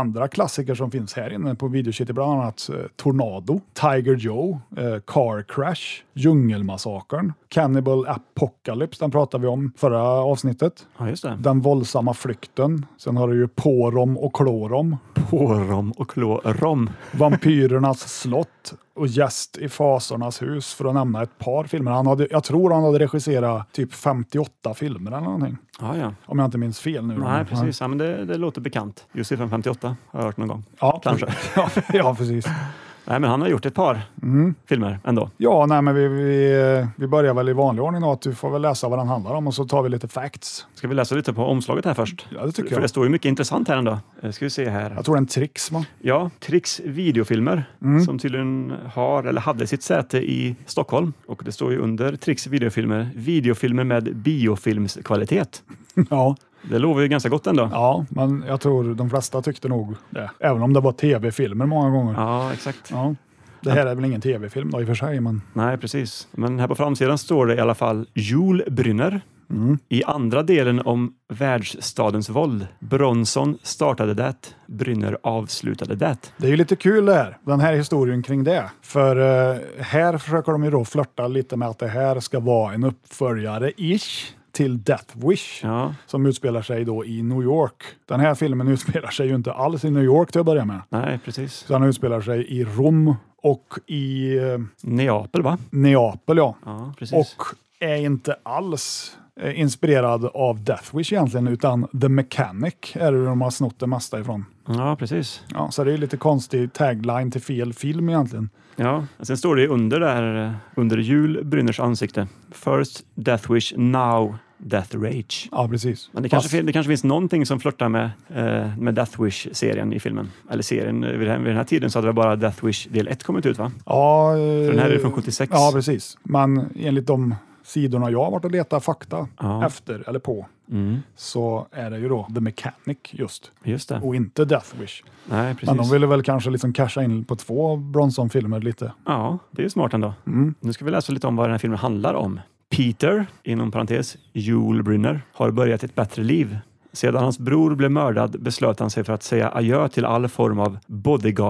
Speaker 3: andra klassiker som finns här inne på Videocity, bland annat eh, Tornado, Tiger Joe, eh, Car Crash, Djungelmassakern, Cannibal Apocalypse, den pratade vi om förra avsnittet,
Speaker 4: Ja, just det.
Speaker 3: Den våldsamma flykten, sen har du ju Porom och Klorom,
Speaker 4: Pårom och klårom.
Speaker 3: Vampyrernas slott och Gäst i fasornas hus, för att nämna ett par filmer. Han hade, jag tror han hade regisserat typ 58 filmer eller någonting,
Speaker 4: Ja, ja.
Speaker 3: om jag inte minns fel nu.
Speaker 4: Nej, precis. Ja, men det, det låter bekant. Just 58 har jag hört någon gång.
Speaker 3: Ja,
Speaker 4: Kanske.
Speaker 3: Ja, ja precis.
Speaker 4: Nej, men han har gjort ett par filmer ändå.
Speaker 3: Ja, nej, men vi, vi, vi börjar väl i vanlig ordning då, att du får väl läsa vad den handlar om och så tar vi lite facts.
Speaker 4: Ska vi läsa lite på omslaget här först?
Speaker 3: Ja, det tycker
Speaker 4: För
Speaker 3: jag.
Speaker 4: det står ju mycket intressant här ändå. Eh, Ska vi se här.
Speaker 3: Jag tror det är en trix, va?
Speaker 4: Ja, Trix videofilmer som tydligen har eller hade sitt säte i Stockholm. Och det står ju under Trix videofilmer, videofilmer med biofilmskvalitet.
Speaker 3: Ja.
Speaker 4: Det lovar ju ganska gott ändå. Ja,
Speaker 3: ja, men jag tror de flesta tyckte nog det. Även om det var tv-filmer många gånger. Ja.
Speaker 4: exakt.
Speaker 3: Det här är väl ingen tv-film då i och för sig, men
Speaker 4: Nej, precis. Men här på framsidan står det i alla fall Jul Brynner. I andra delen om världsstadens våld. Bronson startade det, Brynner avslutade det.
Speaker 3: det är ju lite kul det här. Den här historien kring det. För eh, här försöker de ju då flörta lite med att det här ska vara en uppföljare-ish till Death Wish.
Speaker 4: Ja,
Speaker 3: som utspelar sig då i New York. Den här filmen utspelar sig ju inte alls i New York till att börja med.
Speaker 4: nej, precis.
Speaker 3: Den utspelar sig i Rom och i eh,
Speaker 4: Neapel, va?
Speaker 3: Neapel, ja.
Speaker 4: Ja, precis.
Speaker 3: Och är inte alls eh, inspirerad av Death Wish egentligen, utan The Mechanic är det de har snott det mesta ifrån.
Speaker 4: Ja, precis.
Speaker 3: Ja, så det är lite konstig tagline till fel film egentligen.
Speaker 4: Ja, och sen står det ju under där, eh, under jul, Brynners ansikte. First Death Wish, now Death Rage.
Speaker 3: Ja, precis.
Speaker 4: Men det
Speaker 3: Fast-
Speaker 4: kanske, fin- det kanske finns någonting som flörtar med, eh, med Death Wish-serien i filmen. Eller serien, eh, vid den, här, vid den här tiden så hade väl bara Death Wish del 1 kommit ut va?
Speaker 3: Ja, eh,
Speaker 4: För den här är ju från 76.
Speaker 3: Ja, precis. Men enligt de sidorna jag har varit och letat fakta
Speaker 4: Ja.
Speaker 3: efter eller på
Speaker 4: Mm,
Speaker 3: så är det ju då The Mechanic just
Speaker 4: just det.
Speaker 3: och inte Death Wish.
Speaker 4: Nej, precis.
Speaker 3: Men de ville väl kanske liksom casha in på två Bronson-filmer lite.
Speaker 4: Ja, det är ju smart ändå.
Speaker 3: Mm.
Speaker 4: Nu ska vi läsa lite om vad den här filmen handlar om. Peter, inom parentes, Joel Brynner, har börjat ett bättre liv. Sedan hans bror blev mördad beslöt han sig för att säga adjö till all form av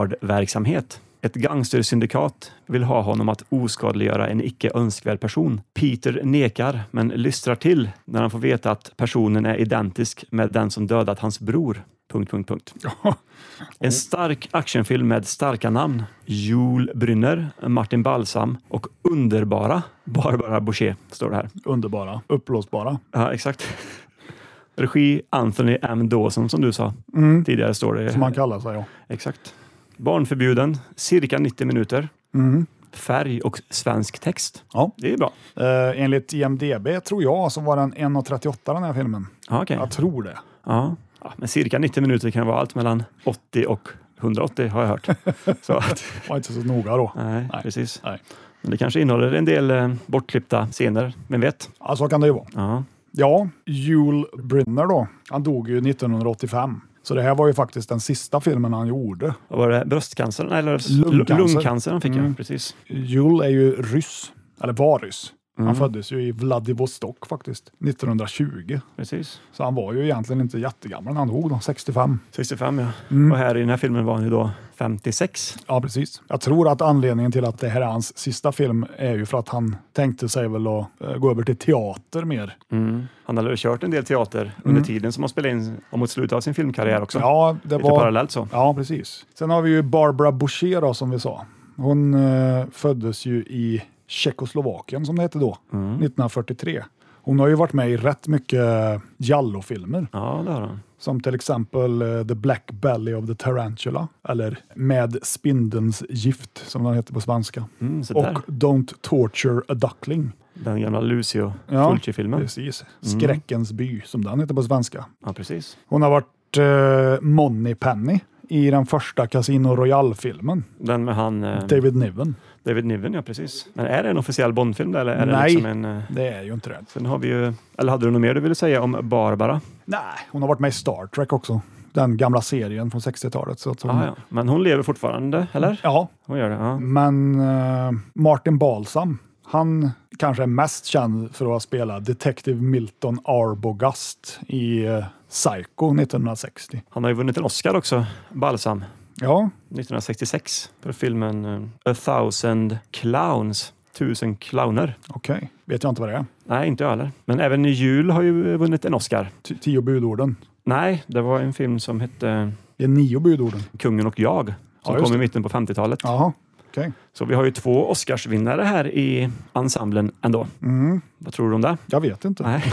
Speaker 4: bodyguard-verksamhet. Ett gangstersyndikat vill ha honom att oskadliggöra en icke önskvärd person. Peter nekar, men lystrar till när han får veta att personen är identisk med den som dödat hans bror. Punkt, punkt, punkt. En stark actionfilm med starka namn. Joel Brynner, Martin Balsam och underbara Barbara Boucher, står det här.
Speaker 3: Underbara, uppblåsbara.
Speaker 4: Ja, exakt. Regi Anthony M. Dawson, som du sa
Speaker 3: Mm.
Speaker 4: tidigare, står det.
Speaker 3: Som man kallar sig, ja.
Speaker 4: Exakt. Barnförbjuden, cirka 90 minuter.
Speaker 3: Mm.
Speaker 4: Färg och svensk text.
Speaker 3: Ja.
Speaker 4: Det är bra.
Speaker 3: Eh, enligt IMDB, tror jag, så var den 1.38 den här filmen.
Speaker 4: Ja, okej.
Speaker 3: Jag tror det.
Speaker 4: Ja. Ja, men cirka 90 minuter kan vara allt mellan 80 och 180 har jag hört. Så att,
Speaker 3: Var inte så noga då.
Speaker 4: nej,
Speaker 3: Nej.
Speaker 4: precis.
Speaker 3: Nej.
Speaker 4: Men det kanske innehåller en del eh, bortklippta scener, vem vet?
Speaker 3: Ja, så kan det ju vara.
Speaker 4: Ja,
Speaker 3: Ja, Jule Brynner då. Han dog ju 1985. Så det här var ju faktiskt den sista filmen han gjorde.
Speaker 4: vad var det? Bröstcancern? Eller s-
Speaker 3: Lungcancer.
Speaker 4: lungcancer han fick,
Speaker 3: Mm.
Speaker 4: ja. Precis.
Speaker 3: Jule är ju ryss, eller var ryss. Han
Speaker 4: Mm.
Speaker 3: föddes ju i Vladivostok faktiskt, 1920.
Speaker 4: Precis.
Speaker 3: Så han var ju egentligen inte jättegammal när han dog, då, 65.
Speaker 4: 65, ja. Och här i den här filmen var han ju då 56.
Speaker 3: Ja, precis. Jag tror att anledningen till att det här är hans sista film är ju för att han tänkte sig väl att eh, gå över till teater mer.
Speaker 4: Han hade väl kört en del teater under tiden som han spelade in och mot slutet av sin filmkarriär också.
Speaker 3: Ja, det
Speaker 4: Lite
Speaker 3: var...
Speaker 4: parallellt så.
Speaker 3: Ja, precis. Sen har vi ju Barbara Boucher då, som vi sa. Hon eh, föddes ju i Tjeckoslovakien, som det hette
Speaker 4: Mm.
Speaker 3: då, 1943. Hon har ju varit med i rätt mycket eh, Jallo-filmer.
Speaker 4: Ja, det har han.
Speaker 3: Som till exempel eh, The Black Belly of the Tarantula, eller Med spindelns gift som den heter på svenska.
Speaker 4: Mm, så där.
Speaker 3: Och Don't Torture a Duckling.
Speaker 4: Den gamla Lucio
Speaker 3: Ja,
Speaker 4: Fulci-filmen.
Speaker 3: Precis. Skräckens by, som den heter på svenska.
Speaker 4: Ja, precis.
Speaker 3: Hon har varit eh, Moneypenny i den första Casino Royale-filmen,
Speaker 4: Den med han eh, David.
Speaker 3: David Niven.
Speaker 4: Niven, ja precis. Men är det en officiell Bondfilm där, eller är det
Speaker 3: Nej.
Speaker 4: liksom en... Eh,
Speaker 3: Det är ju inte det.
Speaker 4: sen har vi ju... Eller hade du något mer du ville säga om Barbara?
Speaker 3: Nej, hon har varit med i Star Trek också. Den gamla serien från 60-talet. Så att hon,
Speaker 4: Ah, ja. Men hon lever fortfarande, eller?
Speaker 3: ja,
Speaker 4: Hon gör det, ja.
Speaker 3: Men eh, Martin Balsam, han kanske är mest känd för att ha spelat Detective Milton Arbogast i eh, Psycho 1960.
Speaker 4: Han har ju vunnit en Oscar också, Balsam,
Speaker 3: Ja,
Speaker 4: 1966 för filmen eh, A thousand clowns, tusen clowner.
Speaker 3: okej. Vet jag inte vad det är.
Speaker 4: Nej, inte jag heller. Men även Jul har ju vunnit en Oscar.
Speaker 3: T- tio budorden.
Speaker 4: Nej, det var en film som hette eh,
Speaker 3: Det är nio budorden.
Speaker 4: Kungen och jag
Speaker 3: Ja,
Speaker 4: som
Speaker 3: just
Speaker 4: kom i
Speaker 3: det.
Speaker 4: mitten på 50-talet.
Speaker 3: Jaha, okej.
Speaker 4: Så vi har ju två Oscarsvinnare här i ensemblen ändå.
Speaker 3: Mm,
Speaker 4: Vad tror du om det?
Speaker 3: jag vet inte.
Speaker 4: Nej.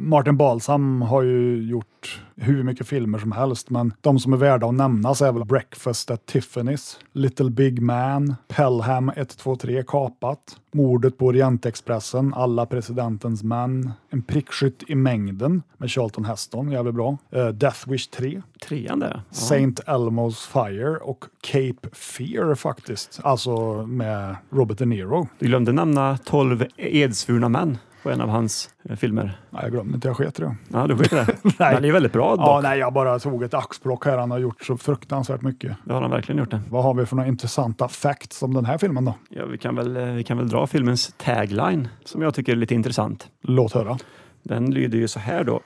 Speaker 3: Martin Balsam har ju gjort hur mycket filmer som helst, men de som är värda att nämnas är väl Breakfast at Tiffany's, Little Big Man, Pelham 123 Kapat, Mordet på Orientexpressen, Alla presidentens män, En prickskytt i mängden med Charlton Heston, jävligt bra, eh, Death Wish 3,
Speaker 4: Trean där. Ja.
Speaker 3: Saint Elmo's Fire och Cape Fear faktiskt, alltså med Robert De Niro.
Speaker 4: Du glömde nämna 12 edsvurna män på en av hans eh, filmer.
Speaker 3: Nej, jag glömde inte, jag sket i det.
Speaker 4: Ja, du skiter i det. Den är väldigt bra dock.
Speaker 3: Ja, nej, jag bara tog ett axplock här. Han har gjort så fruktansvärt mycket.
Speaker 4: Det har han verkligen gjort. Det.
Speaker 3: Vad har vi för några intressanta facts om den här filmen då?
Speaker 4: Ja, vi, kan väl, eh, vi kan väl dra filmens tagline som jag tycker är lite intressant.
Speaker 3: Låt höra.
Speaker 4: Den lyder ju så här då.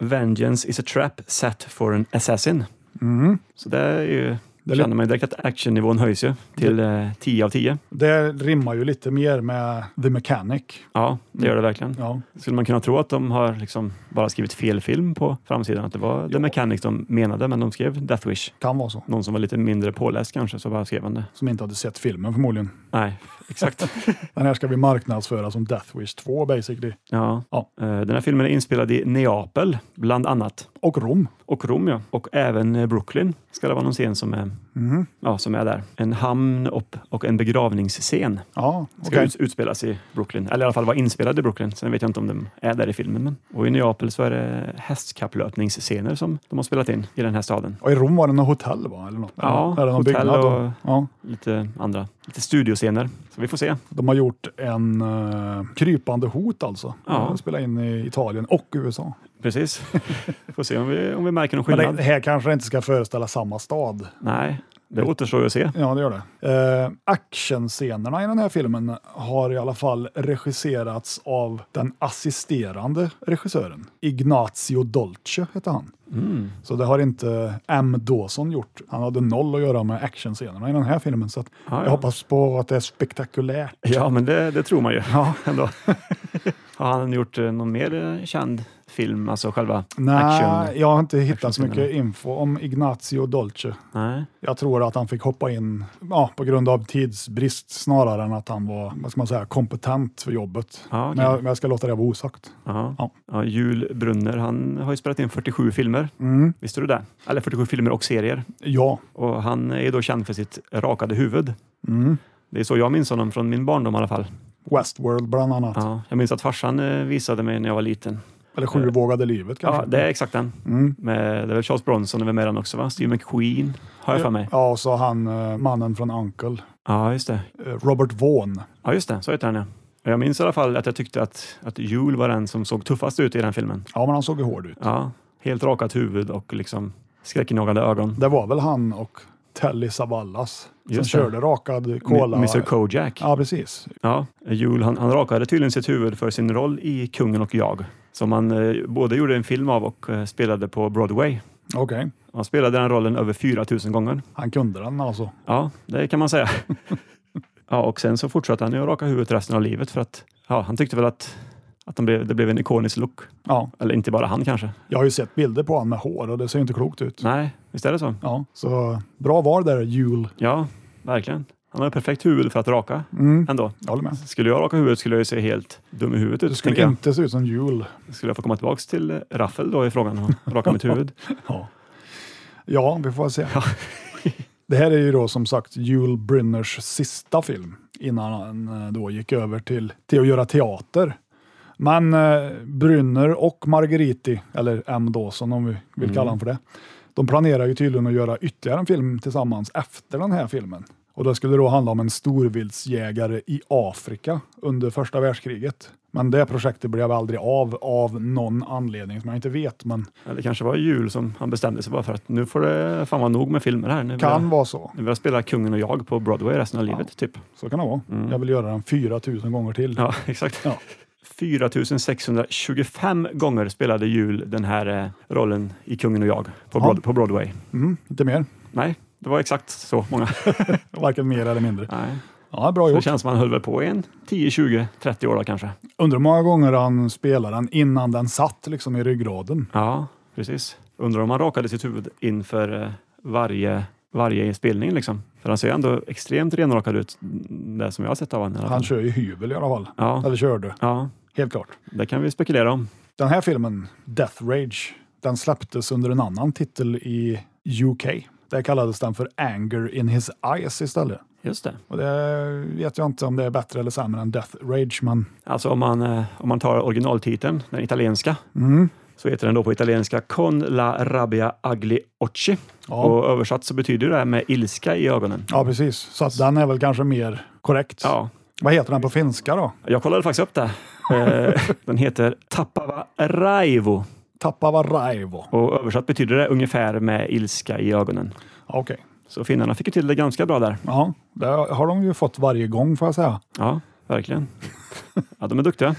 Speaker 4: Vengeance is a trap set for an assassin.
Speaker 3: Mm.
Speaker 4: Så det är ju,
Speaker 3: Det är
Speaker 4: känner man ju direkt att actionnivån höjs ju till eh, 10 av 10.
Speaker 3: Det rimmar ju lite mer med The Mechanic.
Speaker 4: Ja, det gör det verkligen.
Speaker 3: Ja.
Speaker 4: Skulle man kunna tro att de har liksom bara skrivit fel film på framsidan? Att det var The Mechanic de menade, men de skrev Death Wish.
Speaker 3: Kan vara så.
Speaker 4: Någon som var lite mindre påläst kanske, så bara skrev han det.
Speaker 3: Som inte hade sett filmen förmodligen.
Speaker 4: Nej, exakt.
Speaker 3: Den här ska vi marknadsföra som Death Wish 2 basically.
Speaker 4: Ja.
Speaker 3: Ja.
Speaker 4: Eh, Den här filmen är inspelad i Neapel, bland annat.
Speaker 3: Och Rom.
Speaker 4: Och Rom, ja. Och även eh, Brooklyn ska det vara någon scen som är,
Speaker 3: Mm.
Speaker 4: ja, som är där. En hamn upp och en begravningsscen
Speaker 3: Ja,
Speaker 4: ska
Speaker 3: okej.
Speaker 4: ut, utspelas i Brooklyn. Eller i alla fall vara inspelad i Brooklyn. Sen vet jag inte om de är där i filmen. Men. Och i Neapel så är det hästkapplöpningsscener som de har spelat in i den här staden.
Speaker 3: Och i Rom var det något hotell va? Eller något?
Speaker 4: Ja,
Speaker 3: Eller någon
Speaker 4: hotell
Speaker 3: byggnad, då?
Speaker 4: och-
Speaker 3: Ja.
Speaker 4: Lite andra, lite studioscener. Så vi får se.
Speaker 3: De har gjort en eh, krypande hot alltså.
Speaker 4: Ja.
Speaker 3: De spelar in i Italien och USA.
Speaker 4: Precis. får se om vi, om vi märker någon
Speaker 3: Men
Speaker 4: skillnad.
Speaker 3: det här kanske inte ska föreställa samma stad.
Speaker 4: Nej, det återstår ju att se.
Speaker 3: Ja, det gör det. Eh, actionscenerna i den här filmen har i alla fall regisserats av den assisterande regissören. Ignazio Dolce heter han.
Speaker 4: Mm.
Speaker 3: Så det har inte M. Dawson gjort. Han hade noll att göra med actionscenerna i den här filmen. Så att
Speaker 4: Ah, ja.
Speaker 3: jag hoppas på att det är spektakulärt.
Speaker 4: Ja, men det, det tror man ju.
Speaker 3: Ja.
Speaker 4: Ändå. Har han gjort eh, någon mer eh, känd film, alltså själva action?
Speaker 3: Nej, jag har inte hittat så
Speaker 4: actionscenerna.
Speaker 3: mycket info om Ignazio Dolce.
Speaker 4: Nej.
Speaker 3: Jag tror att han fick hoppa in ja, på grund av tidsbrist snarare än att han var vad ska man säga, kompetent för jobbet.
Speaker 4: Ja, okej.
Speaker 3: men, jag, men jag ska låta det vara osagt.
Speaker 4: Ja.
Speaker 3: Ja.
Speaker 4: Ja. Jul Brunner, han har ju spelat in 47 filmer. Visste du det? Eller 47 filmer och serier.
Speaker 3: Mm. Ja,
Speaker 4: Och han är ju då känd för sitt rakade huvud.
Speaker 3: Mm.
Speaker 4: Det är så jag minns honom från min barndom i alla fall.
Speaker 3: Westworld bland annat.
Speaker 4: Ja. Jag minns att farsan eh, visade mig när jag var liten.
Speaker 3: Eller Sju vågade livet kanske. Mm.
Speaker 4: Ja, det är exakt den. Med, det är väl Charles Bronson är väl med i den också, va? Steve McQueen har jag för mig.
Speaker 3: Ja, och så han eh, mannen från Uncle,
Speaker 4: Ja, just det.
Speaker 3: eh, Robert Vaughn.
Speaker 4: Ja, just det. Så heter han ja. Och Jag minns i alla fall att jag tyckte att, att Jul var den som såg tuffast ut i den filmen.
Speaker 3: Ja, men han såg ju hård ut.
Speaker 4: Ja, helt rakat huvud och liksom skräckinjagande ögon.
Speaker 3: Det var väl han och Telly Savalas som
Speaker 4: Just det.
Speaker 3: körde rakad
Speaker 4: Mi-
Speaker 3: cola.
Speaker 4: Mr Kojak.
Speaker 3: Ja, precis.
Speaker 4: Ja, Jul han, han rakade tydligen sitt huvud för sin roll i Kungen och jag. Som han eh, både gjorde en film av och eh, spelade på Broadway.
Speaker 3: Okej,
Speaker 4: Han spelade den rollen över 4000 gånger.
Speaker 3: han kunde den alltså.
Speaker 4: Ja, det kan man säga. ja, och sen så fortsatte han ju att raka huvudet resten av livet för att ja, han tyckte väl att, att de blev, det blev en ikonisk look.
Speaker 3: Ja,
Speaker 4: Eller inte bara han kanske.
Speaker 3: jag har ju sett bilder på honom med hår och det ser ju inte klokt ut.
Speaker 4: Nej, visst är det så?
Speaker 3: Ja, så bra val där, Jul.
Speaker 4: Ja, verkligen. Han har ett perfekt huvud för att raka ändå.
Speaker 3: Jag håller med.
Speaker 4: Skulle jag raka huvudet skulle jag ju se helt dum i huvudet ut.
Speaker 3: Du skulle
Speaker 4: tänker jag.
Speaker 3: inte se ut som jul.
Speaker 4: skulle jag få komma tillbaks till eh, Raffel då i frågan och raka mitt huvud?
Speaker 3: Ja, ja vi får se. Det här är ju då som sagt Jule Brynners sista film innan han eh, då gick över till, till att göra teater. Men eh, Brynner och Margheriti, eller M. Dawson om vi vill kalla honom för det, de planerar ju tydligen att göra ytterligare en film tillsammans efter den här filmen. Och det skulle då handla om en storvildsjägare i Afrika under första världskriget. Men det projektet blev aldrig av, av någon anledning som jag inte vet. Men
Speaker 4: Eller kanske var det jul som han bestämde sig bara för att nu får det fan vara nog med filmer här. Nu vill,
Speaker 3: kan
Speaker 4: jag,
Speaker 3: vara så.
Speaker 4: nu vill jag spela Kungen och jag på Broadway resten av livet, typ.
Speaker 3: Så kan det vara. Jag vill göra den 4000 gånger till.
Speaker 4: Ja, exakt.
Speaker 3: Ja.
Speaker 4: 4625 gånger spelade Jul den här eh, rollen i Kungen och jag på, Broad, på Broadway.
Speaker 3: Mm, inte mer.
Speaker 4: Nej, det var exakt så många.
Speaker 3: Varken mer eller mindre.
Speaker 4: Nej.
Speaker 3: Ja, bra
Speaker 4: Så det
Speaker 3: gjort.
Speaker 4: känns som han höll väl på i en 10, 20, 30 år då, kanske.
Speaker 3: Undrar hur många gånger han spelade den innan den satt liksom i ryggraden.
Speaker 4: Ja, precis. Undrar om han rakade sitt huvud inför eh, varje, varje spelning liksom. För han ser ju ändå extremt renrakad ut, mm, det som jag har sett av honom. i alla
Speaker 3: Han
Speaker 4: fall.
Speaker 3: kör ju hyvel i alla fall.
Speaker 4: Ja.
Speaker 3: Eller körde.
Speaker 4: Ja,
Speaker 3: Helt klart.
Speaker 4: det kan vi spekulera om.
Speaker 3: Den här filmen, Death Rage, Den släpptes under en annan titel i UK. Där kallades den för Anger in his eyes istället.
Speaker 4: Just det.
Speaker 3: Och det vet jag inte om det är bättre eller sämre än Death Rage, men
Speaker 4: Alltså om man, eh, om man tar originaltiteln, den italienska,
Speaker 3: mm.
Speaker 4: så heter den då på italienska Con la rabbia agli occhi.
Speaker 3: Ja.
Speaker 4: Och översatt så betyder det här med ilska i ögonen.
Speaker 3: ja, precis. Så att den är väl kanske mer korrekt.
Speaker 4: Ja,
Speaker 3: Vad heter den på finska då?
Speaker 4: jag kollade faktiskt upp det. Eh, den heter Tappava raivo
Speaker 3: Tappava Raivo.
Speaker 4: och översatt betyder det ungefär med ilska i ögonen.
Speaker 3: Okej.
Speaker 4: Så finnarna fick ju till det ganska bra där.
Speaker 3: Ja, det har de ju fått varje gång får jag säga.
Speaker 4: Ja, verkligen. Ja, de är duktiga.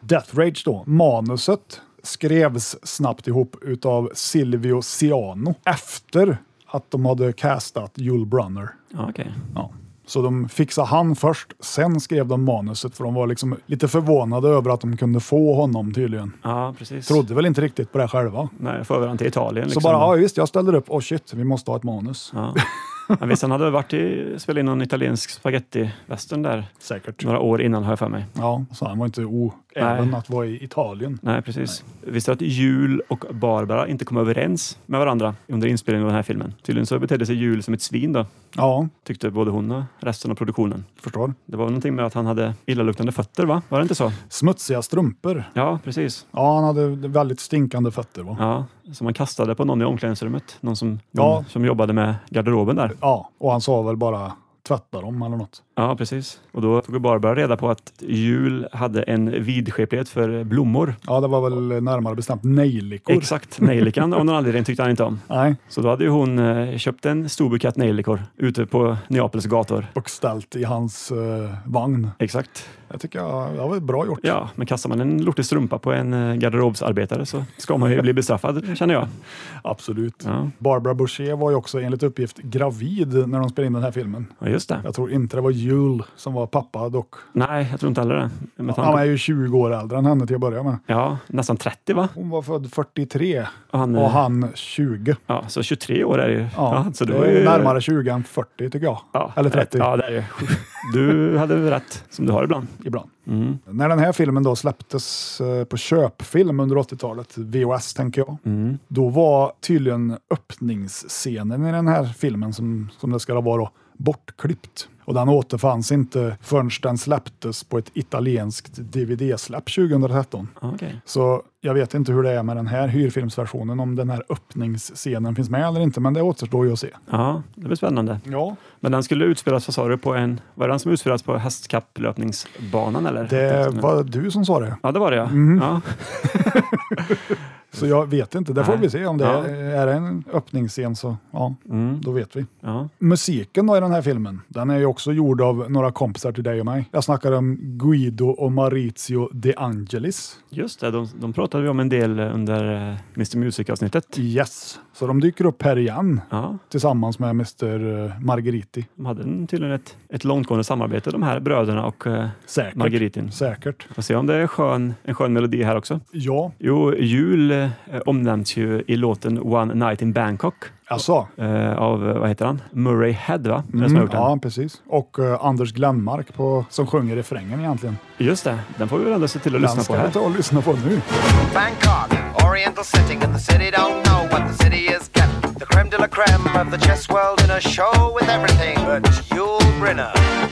Speaker 3: Death Rage då, manuset skrevs snabbt ihop utav Silvio Ciano efter att de hade castat Yul Brunner.
Speaker 4: Ja, okej.
Speaker 3: Ja. Så de fixade han först, sen skrev de manuset för de var liksom lite förvånade över att de kunde få honom tydligen.
Speaker 4: Ja, precis.
Speaker 3: Trodde väl inte riktigt på det själva.
Speaker 4: Nej, för över han till Italien.
Speaker 3: Så
Speaker 4: Liksom.
Speaker 3: bara, ja visst, jag ställer upp. Åh shit, vi måste ha ett manus.
Speaker 4: Ja. Men visst, han hade varit i, spelat in någon italiensk spagettivästern där
Speaker 3: Säkert.
Speaker 4: några år innan, har jag för mig.
Speaker 3: Ja, så han var inte o... Även att vara i Italien.
Speaker 4: Nej, precis. Visste du att Jul och Barbara inte kom överens med varandra under inspelningen av den här filmen? Tydligen så betedde sig Jul som ett svin då,
Speaker 3: Ja,
Speaker 4: tyckte både hon och resten av produktionen.
Speaker 3: förstår.
Speaker 4: Det var väl någonting med att han hade illaluktande fötter, va? Var det inte så?
Speaker 3: Smutsiga strumpor.
Speaker 4: Ja, precis.
Speaker 3: Ja, han hade väldigt stinkande fötter. Va?
Speaker 4: Ja, som man kastade på någon i omklädningsrummet. Någon som,
Speaker 3: Ja.
Speaker 4: någon som jobbade med garderoben där.
Speaker 3: Ja, och han sa väl bara tvätta dem eller något.
Speaker 4: Ja, precis. Och då tog Barbara reda på att Jul hade en vidskeplighet för blommor.
Speaker 3: Ja, det var väl närmare bestämt nejlikor.
Speaker 4: Exakt, nejlikan av någon anledning tyckte han inte om.
Speaker 3: Nej,
Speaker 4: Så då hade ju hon eh, köpt en stor bukett nejlikor ute på Neapels gator.
Speaker 3: och ställt i hans eh, vagn.
Speaker 4: Exakt.
Speaker 3: Jag tycker jag, det var bra gjort.
Speaker 4: Ja, men kastar man en lortig strumpa på en eh, garderobsarbetare så ska man ju bli bestraffad, känner jag.
Speaker 3: Absolut.
Speaker 4: Ja,
Speaker 3: Barbara Boucher var ju också enligt uppgift gravid när de spelade in den här filmen.
Speaker 4: ja just det.
Speaker 3: Jag tror inte det var Jul som var pappa dock.
Speaker 4: Nej, jag tror inte heller det. Med
Speaker 3: Han är
Speaker 4: tanke...
Speaker 3: ju 20 år äldre än henne till att börja med.
Speaker 4: Ja, nästan 30 va?
Speaker 3: Hon var född 43
Speaker 4: Och han,
Speaker 3: och
Speaker 4: eh,
Speaker 3: han 20.
Speaker 4: Ja, så 23 år är det ju.
Speaker 3: Ja,
Speaker 4: så
Speaker 3: det
Speaker 4: det
Speaker 3: är
Speaker 4: var ju...
Speaker 3: närmare 20 än 40 tycker jag.
Speaker 4: Ja,
Speaker 3: Eller 30
Speaker 4: Ja, det är det. Du hade väl rätt, som du har ibland.
Speaker 3: ibland.
Speaker 4: Mm.
Speaker 3: När den här filmen då släpptes eh, på köpfilm under 80-talet, VHS tänker jag,
Speaker 4: Mm.
Speaker 3: då var tydligen öppningsscenen i den här filmen, som, som det ska vara då, bortklippt. Och den återfanns inte förrän den släpptes på ett italienskt DVD-släpp 2013.
Speaker 4: Ja, Okej.
Speaker 3: Så jag vet inte hur det är med den här hyrfilmsversionen, om den här öppningsscenen finns med eller inte, men det återstår ju att se.
Speaker 4: Ja, det blir spännande.
Speaker 3: Ja,
Speaker 4: Men den skulle utspelas, vad sa du, på en... Var det den som utspelades på hästkapplöpningsbanan eller?
Speaker 3: det var Mhm. du som sa det,
Speaker 4: Ja, det var det ja. ja.
Speaker 3: så jag vet inte. Det får
Speaker 4: Nej.
Speaker 3: vi se om det
Speaker 4: Ja.
Speaker 3: är, är det en öppningsscen så ja,
Speaker 4: Mm.
Speaker 3: då vet vi.
Speaker 4: ja.
Speaker 3: Musiken då i den här filmen, den är ju också gjord av några kompisar till dig och mig. Jag snackar om Guido och Maurizio De Angelis.
Speaker 4: Just det, de, de pratade vi om en del under eh, Mr Music-avsnittet.
Speaker 3: Yes, så de dyker upp här igen
Speaker 4: Ja,
Speaker 3: tillsammans med Mr Margheriti.
Speaker 4: de hade en- tydligen ett, ett långtgående samarbete de här bröderna och eh,
Speaker 3: Säkert.
Speaker 4: Margaritin.
Speaker 3: Säkert.
Speaker 4: Får se om det är skön, en skön melodi här också.
Speaker 3: Ja,
Speaker 4: Jo, jul eh, omnämns ju i låten One Night in Bangkok
Speaker 3: alltså.
Speaker 4: eh, av, eh, vad heter han, Murray Head va? Det är som har
Speaker 3: Mm,
Speaker 4: gjort den.
Speaker 3: ja, precis. Och eh, Anders Glenmark på, som sjunger refrängen egentligen.
Speaker 4: Just det, den får vi väl ändå se till att lyssna
Speaker 3: den
Speaker 4: på
Speaker 3: ska vi
Speaker 4: här.
Speaker 3: ta och lyssna på nu.
Speaker 5: Bangkok, oriental setting, and the city don't know what the city is getting. The creme de la creme of the chess world in a show with everything but Yul Brynner.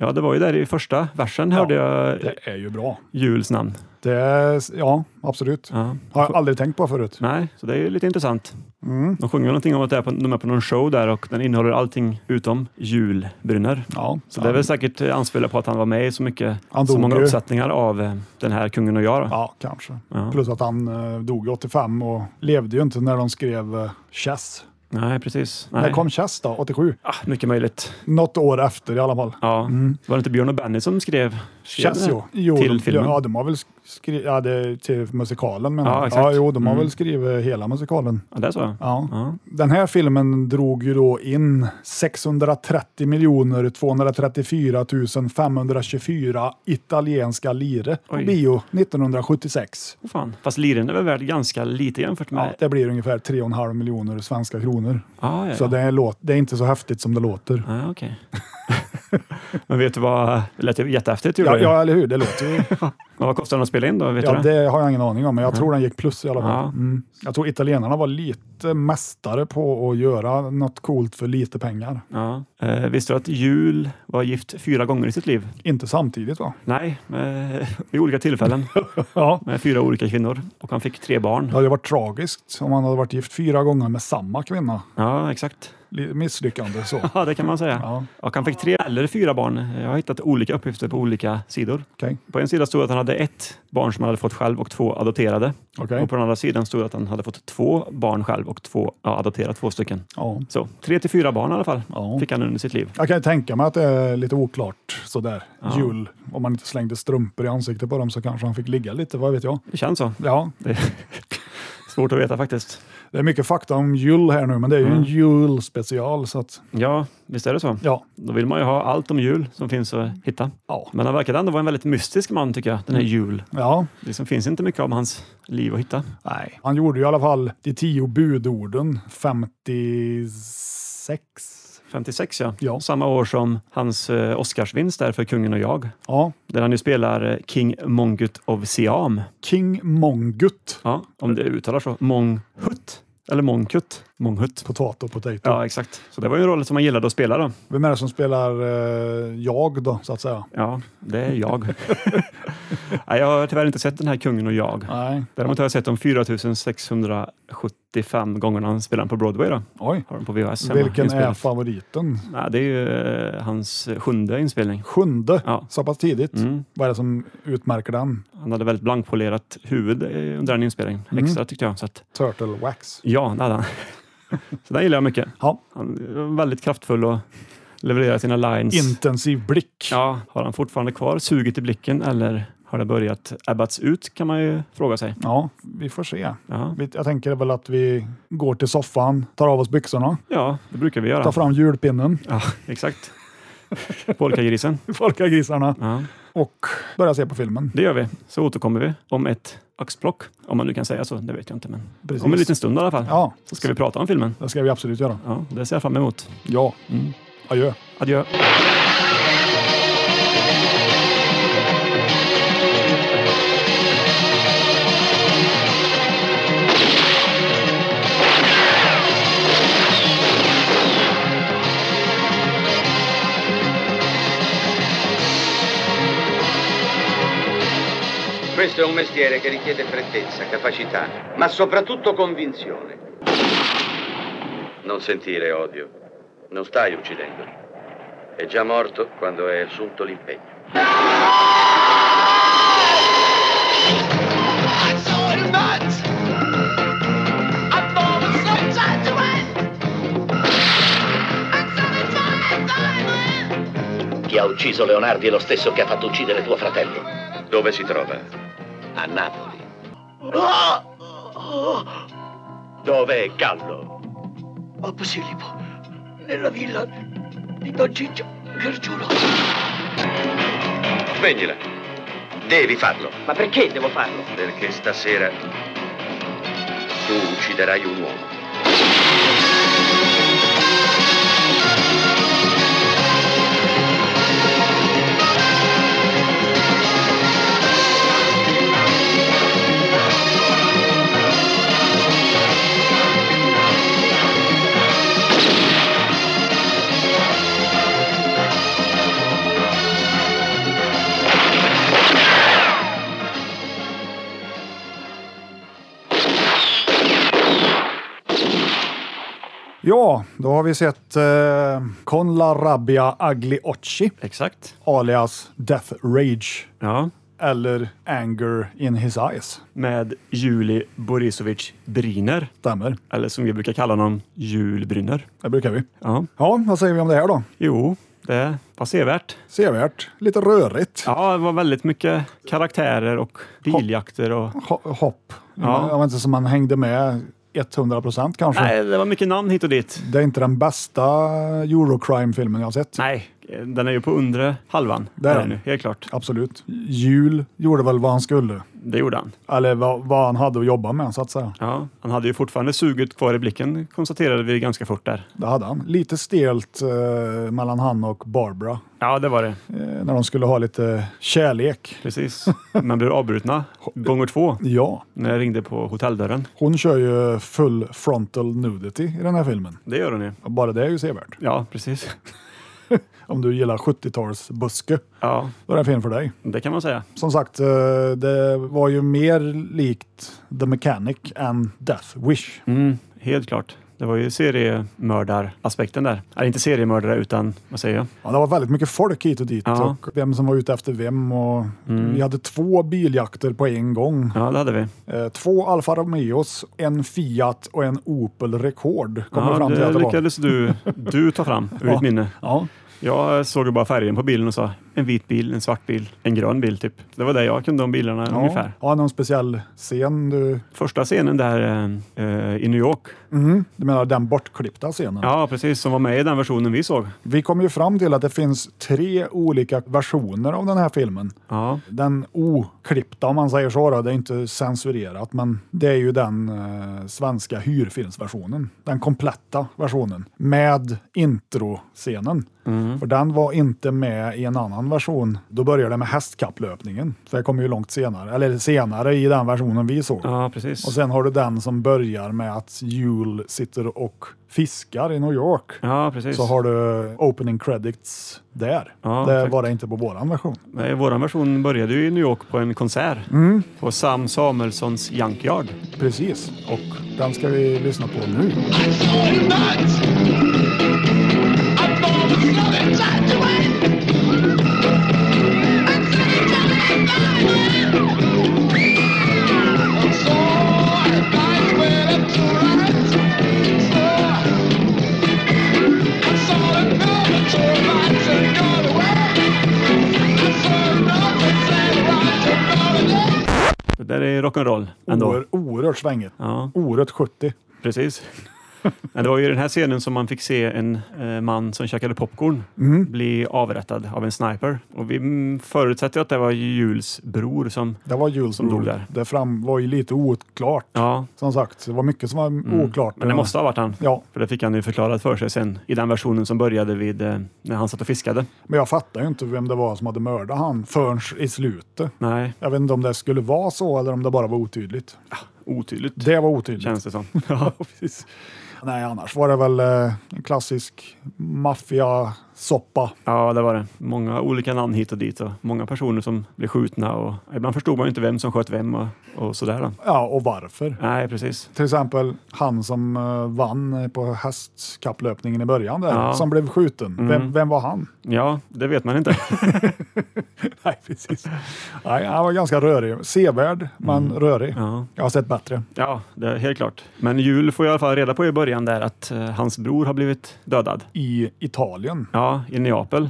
Speaker 4: Ja, det var ju där i första versen hörde jag
Speaker 3: Det är ju bra.
Speaker 4: Juls namn.
Speaker 3: Det är, ja, absolut.
Speaker 4: Ja.
Speaker 3: Har jag aldrig tänkt på förut.
Speaker 4: Nej, så det är ju lite intressant.
Speaker 3: Mm.
Speaker 4: De sjunger någonting om att det är på, de är på någon show där och den innehåller allting utom julbrynner.
Speaker 3: Ja,
Speaker 4: Så det är väl säkert eh, anspelar på att han var med i så, mycket,
Speaker 3: Han
Speaker 4: så
Speaker 3: dog
Speaker 4: många
Speaker 3: ju.
Speaker 4: uppsättningar av eh, den här Kungen och jag. Då.
Speaker 3: Ja, kanske.
Speaker 4: Ja.
Speaker 3: Plus att han eh, dog i 85 och levde ju inte när de skrev eh, Chess.
Speaker 4: Nej, precis.
Speaker 3: När
Speaker 4: Nej.
Speaker 3: kom Chess då? 87?
Speaker 4: Ah, mycket möjligt.
Speaker 3: Något år efter i alla fall.
Speaker 4: Ja.
Speaker 3: Mm.
Speaker 4: Var det inte Björn och Benny som skrev? skrev
Speaker 3: Chess
Speaker 4: den?
Speaker 3: jo. jo.
Speaker 4: Till filmen?
Speaker 3: Ja, de har väl skrivit, ja, det, till musikalen menar
Speaker 4: Ja,
Speaker 3: jag.
Speaker 4: exakt.
Speaker 3: ja, jo, de har
Speaker 4: Mm.
Speaker 3: väl skrivit hela musikalen.
Speaker 4: Ja, det sa jag.
Speaker 3: Ja.
Speaker 4: Ja.
Speaker 3: Den här filmen drog ju då in 630 miljoner 234 524 italienska lire på
Speaker 4: Oj.
Speaker 3: bio 1976.
Speaker 4: Åh, fan. Fast liren är väl värd ganska lite jämfört
Speaker 3: Ja,
Speaker 4: med...
Speaker 3: det blir ungefär 3,5 miljoner svenska kronor.
Speaker 4: Ah, ja, ja.
Speaker 3: Så det är, låt, det är inte så häftigt som det låter.
Speaker 4: Ah, okej. Men vet du vad? Det lät ju jättehäftigt. gjorde
Speaker 3: Ja,
Speaker 4: ju.
Speaker 3: ja, eller hur? Det låter ju...
Speaker 4: Men vad kostar den att spela in då? Vet
Speaker 3: Ja,
Speaker 4: du det?
Speaker 3: det har jag ingen aning om, men jag tror den gick plus i alla fall.
Speaker 4: Ja.
Speaker 3: Mm. Jag tror italienarna var lite mästare på att göra något coolt för lite pengar.
Speaker 4: Ja. Eh, visste du att Jul var gift fyra gånger i sitt liv?
Speaker 3: Inte samtidigt va?
Speaker 4: Nej, eh, vid olika tillfällen
Speaker 3: Ja.
Speaker 4: med fyra olika kvinnor och han fick tre barn.
Speaker 3: Det hade varit tragiskt om han hade varit gift fyra gånger med samma kvinna.
Speaker 4: Ja, exakt.
Speaker 3: Li- Misslyckande så.
Speaker 4: Ja, det kan man säga.
Speaker 3: Ja.
Speaker 4: Och han fick tre eller fyra barn. Jag har hittat olika uppgifter på olika sidor.
Speaker 3: Okej.
Speaker 4: På en sida stod att han hade ett barn som han hade fått själv och två adopterade.
Speaker 3: Okej.
Speaker 4: Och på den andra sidan stod att han hade fått två barn själv och två, ja, adopterat två stycken.
Speaker 3: Ja.
Speaker 4: Så tre till fyra barn i alla fall
Speaker 3: Ja.
Speaker 4: fick han under sitt liv.
Speaker 3: Jag kan ju tänka mig att det är lite oklart sådär. Jul. Om man inte slängde strumpor i ansiktet på dem så kanske han fick ligga lite, vad vet jag.
Speaker 4: Det känns så.
Speaker 3: Ja,
Speaker 4: Det är svårt att veta faktiskt.
Speaker 3: det är mycket fakta om jul här nu, men det är ju
Speaker 4: Mm.
Speaker 3: en julspecial så att
Speaker 4: Ja, visst är det så.
Speaker 3: ja.
Speaker 4: Då vill man ju ha allt om jul som finns att hitta.
Speaker 3: Ja.
Speaker 4: Men han verkade ändå vara en väldigt mystisk man tycker jag, den här jul.
Speaker 3: Ja,
Speaker 4: Det liksom finns inte mycket om hans liv att hitta.
Speaker 3: Nej. Han gjorde ju i alla fall de tio budorden 56.
Speaker 4: 56 ja.
Speaker 3: Ja.
Speaker 4: Samma år som hans eh, Oscarsvinst där för Kungen och jag.
Speaker 3: Ja,
Speaker 4: Där han ju spelar eh, King Mongut of Siam.
Speaker 3: King Mongut.
Speaker 4: Ja, om det uttalar så. Monghut. Eller Monkut. Monghut.
Speaker 3: Potato, potato.
Speaker 4: Ja, exakt. Så det var ju en roll som han gillade att spela då.
Speaker 3: Vem är det som spelar eh, jag då, så att säga?
Speaker 4: Ja, det är jag. Nej, jag har tyvärr inte sett den här Kungen och jag.
Speaker 3: Nej.
Speaker 4: Däremot har jag sett de 4675 gångerna han spelar den på Broadway. Då.
Speaker 3: Oj.
Speaker 4: Har den på VHS hemma
Speaker 3: Vilken är
Speaker 4: inspelad.
Speaker 3: favoriten?
Speaker 4: Nej, det är ju eh, hans sjunde inspelning.
Speaker 3: Sjunde,
Speaker 4: Ja.
Speaker 3: så pass tidigt.
Speaker 4: Mm.
Speaker 3: Vad är det som utmärker den?
Speaker 4: Han hade väldigt blankpolerat huvud eh, under den inspelningen.
Speaker 3: Mm.
Speaker 4: Extra tyckte jag. Så att,
Speaker 3: Turtle Wax.
Speaker 4: ja, det hade han. så den gillar jag mycket.
Speaker 3: Ja.
Speaker 4: Han var väldigt kraftfull och levererade sina lines.
Speaker 3: Intensiv blick.
Speaker 4: Ja, har han fortfarande kvar suget i blicken eller har det börjat ebbats ut kan man ju fråga sig.
Speaker 3: Ja, vi får se.
Speaker 4: Ja,
Speaker 3: Vi- Jag tänker väl att vi går till soffan, tar av oss byxorna,
Speaker 4: ja det brukar vi
Speaker 3: tar
Speaker 4: göra.
Speaker 3: fram julpinnen,
Speaker 4: Ja, exakt. Polkagrisens.
Speaker 3: folkar grisarna
Speaker 4: Ja,
Speaker 3: och börjar se på filmen.
Speaker 4: det gör vi. Så återkommer vi om ett axplock, om man nu kan säga så. Det vet jag inte, men
Speaker 3: Precis.
Speaker 4: om en liten stund i alla fall.
Speaker 3: Ja,
Speaker 4: Så ska vi prata om filmen.
Speaker 3: det ska vi absolut göra.
Speaker 4: Ja, det ser jag fram emot.
Speaker 3: Ja. Adjö.
Speaker 4: Adjö.
Speaker 5: Questo è un mestiere che richiede freddezza, capacità, ma soprattutto convinzione. Non sentire odio. Non stai uccidendo. È già morto quando è assunto l'impegno.
Speaker 6: Chi ha ucciso Leonardi è lo stesso che ha fatto uccidere tuo fratello.
Speaker 5: Dove si trova?
Speaker 6: A Napoli. Dov'è Gallo? A Posillipo, nella villa di Don Ciccio Gergiulo.
Speaker 5: Sveglila. Devi farlo,
Speaker 6: Ma perché devo farlo?
Speaker 5: perché stasera tu ucciderai un uomo.
Speaker 3: Ja, då har vi sett eh, Con la rabbia agli occhi,
Speaker 4: Exakt.
Speaker 3: alias Death Rage,
Speaker 4: Ja.
Speaker 3: eller Anger in his eyes.
Speaker 4: Med Juli Borisovic Briner,
Speaker 3: Stämmer,
Speaker 4: eller som vi brukar kalla honom, Jul Brynner.
Speaker 3: det brukar vi.
Speaker 4: Ja.
Speaker 3: Ja, vad säger vi om det här då?
Speaker 4: Jo, det var sevärt.
Speaker 3: Sevärt, lite rörigt.
Speaker 4: Ja, det var väldigt mycket karaktärer och biljakter och...
Speaker 3: Ho- hopp.
Speaker 4: Ja.
Speaker 3: Jag vet inte som man hängde med 100 procent kanske.
Speaker 4: Nej, det var mycket namn hit och dit.
Speaker 3: Det är inte den bästa Eurocrime-filmen jag har sett.
Speaker 4: Nej, Eh, Den är ju på undre halvan.
Speaker 3: Där är
Speaker 4: Där
Speaker 3: den.
Speaker 4: nu, helt klart.
Speaker 3: Absolut. Jul gjorde väl vad han skulle.
Speaker 4: Det gjorde han.
Speaker 3: Eller vad, vad han hade att jobba med, så att säga.
Speaker 4: Ja, han hade ju fortfarande suget kvar i blicken, konstaterade vi ganska fort där.
Speaker 3: Det hade han. Lite stelt eh, mellan han och Barbara.
Speaker 4: Ja, det var det.
Speaker 3: Eh, när de skulle ha lite kärlek.
Speaker 4: Precis. Man blir avbrutna gånger två
Speaker 3: Ja,
Speaker 4: när jag ringde på hotelldörren.
Speaker 3: hon kör ju full frontal nudity i den här filmen.
Speaker 4: Det gör hon ju.
Speaker 3: Och Bara det är ju sevärt.
Speaker 4: Ja, precis.
Speaker 3: Om du gillar 70-talsbuske,
Speaker 4: Ja,
Speaker 3: då är den film för dig.
Speaker 4: det kan man säga.
Speaker 3: Som sagt, eh, det var ju mer likt The Mechanic än Death Wish.
Speaker 4: Mm, helt klart. Det var ju seriemördaraspekten där. Eller inte seriemördare utan, vad säger jag?
Speaker 3: Ja, det var väldigt mycket folk hit och dit
Speaker 4: Ja. Mm.
Speaker 3: och vem som var ute efter vem. Och Vi hade två biljakter på en gång.
Speaker 4: Ja, det hade vi.
Speaker 3: Eh, Två Alfa Romeos, en Fiat och en Opel Rekord kom vi
Speaker 4: Ja,
Speaker 3: fram till
Speaker 4: det
Speaker 3: att det var.
Speaker 4: lyckades du, du ta fram ur
Speaker 3: Ja.
Speaker 4: ditt minne.
Speaker 3: Ja,
Speaker 4: Jag såg ju bara färgen på bilen och sa en vit bil, en svart bil, en grön bil typ. Det var det jag kunde om bilarna
Speaker 3: ja.
Speaker 4: ungefär.
Speaker 3: ja, någon speciell scen du,
Speaker 4: Första scenen där eh, i New York.
Speaker 3: Mhm. du menar den bortklippta scenen?
Speaker 4: Ja, precis. Som var med i den versionen vi såg.
Speaker 3: Vi kom ju fram till att det finns tre olika versioner av den här filmen.
Speaker 4: Ja,
Speaker 3: Den oklippta om man säger så, då, det är inte censurerat, men det är ju den eh, svenska hyrfilmsversionen. Den kompletta versionen med introscenen.
Speaker 4: Mm.
Speaker 3: För den var inte med i en annan version. Då börjar det med hästkapplöpningen. Så det kommer ju långt senare, eller senare i den versionen vi såg.
Speaker 4: ja
Speaker 3: Och
Speaker 4: precis.
Speaker 3: sen har du den som börjar med att Jule sitter och fiskar i New York.
Speaker 4: Ja, precis.
Speaker 3: Så har du opening credits där.
Speaker 4: Ja,
Speaker 3: det
Speaker 4: exakt.
Speaker 3: var det inte på våran version.
Speaker 4: Nej, vår version började ju i New York på en konsert.
Speaker 3: Mm.
Speaker 4: På Sam Samuelssons Junkyard.
Speaker 3: Precis, och den ska vi lyssna på nu.
Speaker 4: Det där är rock'n'roll ändå.
Speaker 3: Oer, oerhört svängigt.
Speaker 4: Ja,
Speaker 3: Oerhört 70.
Speaker 4: precis. Men det var ju i den här scenen som man fick se en eh, man som käkade popcorn
Speaker 3: Mm.
Speaker 4: bli avrättad av en sniper. Och vi mm, förutsätter att det var Jules bror som...
Speaker 3: Det var Jules
Speaker 4: Som dog
Speaker 3: Brolin.
Speaker 4: där.
Speaker 3: Det fram var ju lite oklart.
Speaker 4: Ja,
Speaker 3: Som sagt, det var mycket som var oklart.
Speaker 4: Mm. men det måste ha varit han.
Speaker 3: Ja,
Speaker 4: För det fick han ju förklarat för sig sen i den versionen som började vid eh, när han satt och fiskade.
Speaker 3: men jag fattar ju inte vem det var som hade mördat han förrän i slutet.
Speaker 4: Nej,
Speaker 3: Jag vet inte om det skulle vara så eller om det bara var otydligt.
Speaker 4: otydligt
Speaker 3: Det var otydligt.
Speaker 4: känns det som. Mm. Ja, precis.
Speaker 3: Nej, annars var det väl eh, en klassisk maffiasoppa.
Speaker 4: Ja, det var det. Många olika namn hit och dit och många personer som blev skjutna och ibland förstod man ju inte vem som sköt vem och, och sådär. Då.
Speaker 3: Ja, och varför?
Speaker 4: Nej, precis.
Speaker 3: Till exempel han som eh, vann på hästkapplöpningen i början där,
Speaker 4: Ja. Mm.
Speaker 3: som blev skjuten. Vem, vem var han?
Speaker 4: Ja, det vet man inte.
Speaker 3: Nej, precis. Nej, han var ganska rörig. Sevärd, men rörig.
Speaker 4: Mm. Ja.
Speaker 3: Jag har sett bättre.
Speaker 4: Ja, det är helt klart. Men Jul får i alla fall reda på i början där att eh, hans bror har blivit dödad.
Speaker 3: I Italien. Mm.
Speaker 4: Ja, i Neapel.